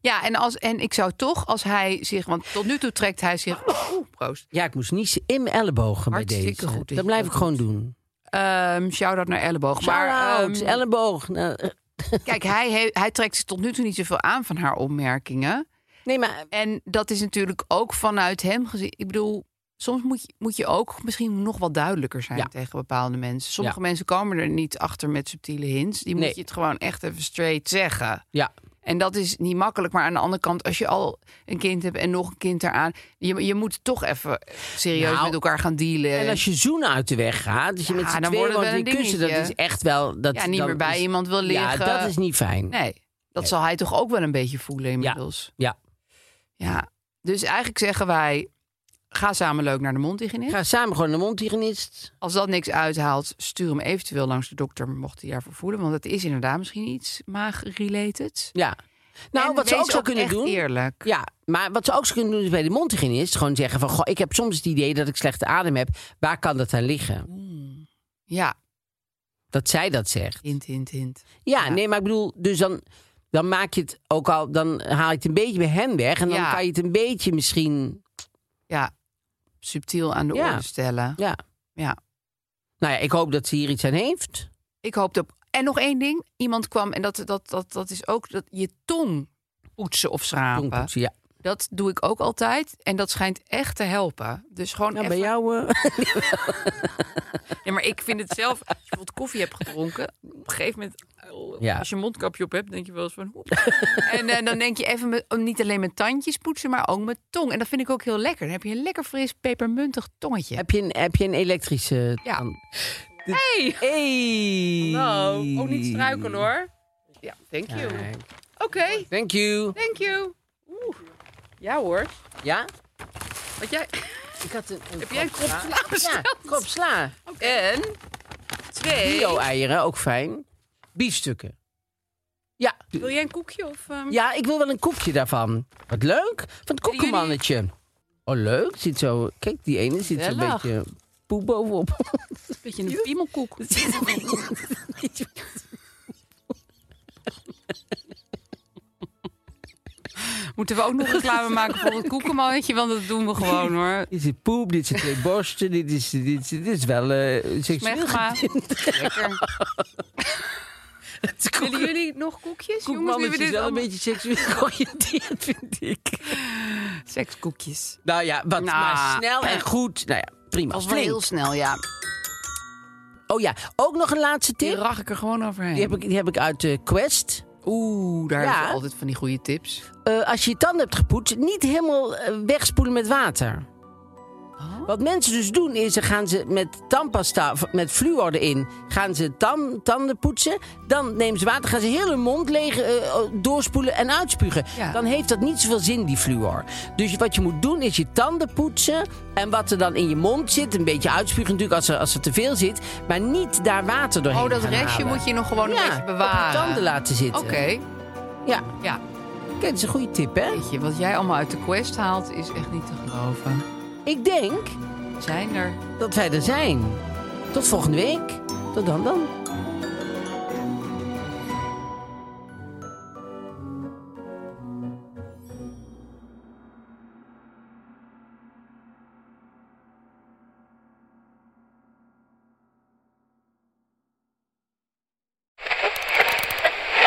S3: Ja, en, als, en ik zou toch, als hij zich... Want tot nu toe trekt hij zich...
S2: [coughs]
S3: Oeh, proost.
S2: Ja, ik moest niezen in mijn ellebogen bij
S3: Hartstikke
S2: deze.
S3: goed dat je
S2: dat blijf
S3: dat
S2: ik gewoon doen.
S3: Ehm Shout-out naar elleboog.
S2: Maar
S3: maar,
S2: het is
S3: ehm,
S2: elleboog. Nou, eh,
S3: Kijk, hij, he- hij trekt zich tot nu toe niet zoveel aan van haar opmerkingen.
S2: nee, maar
S3: En dat is natuurlijk ook vanuit hem gezien. Ik bedoel, soms moet je, moet je ook misschien nog wat duidelijker zijn
S2: Ja.
S3: tegen bepaalde mensen. Sommige
S2: Ja.
S3: mensen komen er niet achter met subtiele hints. Die moet
S2: Nee.
S3: je het gewoon echt even straight zeggen.
S2: ja,
S3: En dat is niet makkelijk. Maar aan de andere kant, als je al een kind hebt en nog een kind eraan. Je, je moet toch even serieus
S2: Nou,
S3: met elkaar gaan dealen.
S2: en als je zoen uit de weg gaat, dat je
S3: Ja,
S2: met z'n
S3: dan
S2: tweeën
S3: wordt het
S2: woont in
S3: wel een
S2: kussen, dat is
S3: dingetje.
S2: echt wel... Dat,
S3: ja, niet
S2: dan
S3: meer bij
S2: is-
S3: iemand wil
S2: Ja,
S3: liggen.
S2: dat is niet fijn.
S3: Nee, dat zal hij toch ook wel een beetje voelen inmiddels.
S2: Ja.
S3: Ja, dus eigenlijk zeggen wij: ga samen leuk naar de
S2: Ik
S3: mondhygiënist.
S2: ga samen gewoon naar de mondhygiënist.
S3: Als dat niks uithaalt, stuur hem eventueel langs de dokter, mocht hij daarvoor voelen. Want het is inderdaad misschien iets maag-related.
S2: Ja. Nou,
S3: En
S2: wat ze
S3: wees
S2: ook zou kunnen
S3: echt
S2: doen...
S3: Eerlijk.
S2: Ja, maar wat ze ook zou kunnen doen is bij de mondhygiënist... gewoon zeggen van, goh, ik heb soms het idee dat ik slechte adem heb. Waar kan dat aan liggen?
S3: Ja,
S2: Dat zij dat zegt.
S3: hint, hint, hint.
S2: Ja, nee, maar ik bedoel, dus dan, dan maak je het ook al, dan haal je het een beetje bij hem weg. En dan
S3: Ja.
S2: kan je het een beetje misschien.
S3: Ja, subtiel aan de
S2: Ja.
S3: orde stellen.
S2: Ja.
S3: Ja.
S2: Nou ja, ik hoop dat ze hier iets aan heeft.
S3: Ik hoop dat. En nog één ding: iemand kwam en dat, dat, dat, dat is ook dat je tong poetsen of schrapen.
S2: Tongpoetsen, ja.
S3: Dat doe ik ook altijd. En dat schijnt echt te helpen. Dus gewoon
S2: Nou, bij
S3: even...
S2: jou... eh,
S3: Ja, maar ik vind het zelf... Als je bijvoorbeeld koffie hebt gedronken... Op een gegeven moment... oh,
S2: Ja.
S3: Als je een mondkapje op hebt, denk je wel eens van... "Oep." en eh, dan denk je even met, niet alleen met tandjes poetsen... maar ook met tong. En dat vind ik ook heel lekker. Dan heb je een lekker fris, pepermuntig tongetje.
S2: heb, je een, heb je een elektrische...
S3: Ja.
S2: tand?
S3: Hey!
S2: Hey!
S3: Hallo. Ook niet struiken hoor. Ja, thank you.
S2: Kijk.
S3: Oké,
S2: Thank you.
S3: thank you. Oeh. Ja hoor.
S2: Ja?
S3: Wat jij...
S2: Ik had een, een
S3: Heb jij een krop sla [laughs]
S2: Ja,
S3: besteld?
S2: krop sla.
S3: En twee.
S2: Bio-eieren, ook fijn. Biefstukken. Ja.
S3: Wil jij een koekje of? ehm,
S2: Hm? ja, ik wil wel een koekje daarvan. Wat leuk. Van het koekenmannetje. Oh, leuk. Zit zo... Kijk, die ene zit zo'n
S3: Gezellig.
S2: beetje poe bovenop. [laughs]
S3: Een beetje een piemelkoek. Moeten we ook nog reclame maken voor het koekenmannetje? Want dat doen we gewoon hoor.
S2: Dit is poep, dit zijn twee borsten, dit is, dit is, dit is wel eh seksueel.
S3: Smegma. Lekker. Willen jullie nog koekjes? Jongens, nu
S2: Koekmannetje is
S3: we dit
S2: wel een
S3: allemaal...
S2: beetje seksueel [laughs] georiënteerd, vind ik.
S3: Sekskoekjes.
S2: Nou ja, wat,
S3: Nou.
S2: maar snel en goed. Nou ja, prima.
S3: Als wel
S2: Flink.
S3: heel snel, ja.
S2: Oh ja, ook nog een laatste
S3: Die
S2: tip.
S3: rag ik er gewoon overheen.
S2: Die heb ik, die heb ik uit de Quest.
S3: Oeh, daar
S2: Ja.
S3: hebben ze altijd van die goede tips.
S2: Eh, als je je tanden hebt gepoetst, niet helemaal eh, wegspoelen met water.
S3: Oh.
S2: Wat mensen dus doen is, dan gaan ze met tandpasta, of met fluor erin, gaan ze tam- tanden poetsen. Dan nemen ze water, gaan ze heel hun mond leeg eh, doorspoelen en uitspugen.
S3: Ja.
S2: Dan heeft dat niet zoveel zin, die fluor. Dus wat je moet doen, is je tanden poetsen. En wat er dan in je mond zit, een beetje uitspugen natuurlijk als er, als er te veel zit. Maar niet daar water doorheen
S3: Oh, dat
S2: gaan
S3: restje
S2: halen.
S3: moet je nog gewoon
S2: Ja,
S3: een beetje bewaren.
S2: op je tanden laten
S3: Oké,
S2: zitten. Ja,
S3: ja.
S2: kijk, dat is een goede tip, hè?
S3: Weet je, wat jij allemaal uit de quest haalt is echt niet te geloven.
S2: Ik denk
S3: Zijn er.
S2: dat wij er zijn. Tot volgende week. Tot dan dan.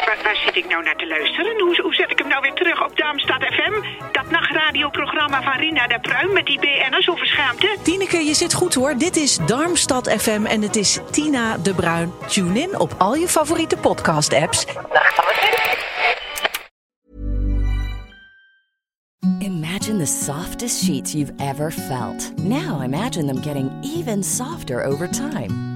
S4: Waar, waar zit ik nou naar te luisteren? Hoe, hoe zet ik hem nou weer terug op Darmstad FM? Dat nachtradioprogramma van Rina de Pruim met die BN'ers over schaamte?
S5: Tineke, je zit goed hoor. Dit is Darmstad FM en het is Tina de Bruin. Tune in op al je favoriete podcast-apps
S6: Imagine the softest sheets you've ever felt. Now imagine them getting even softer over time.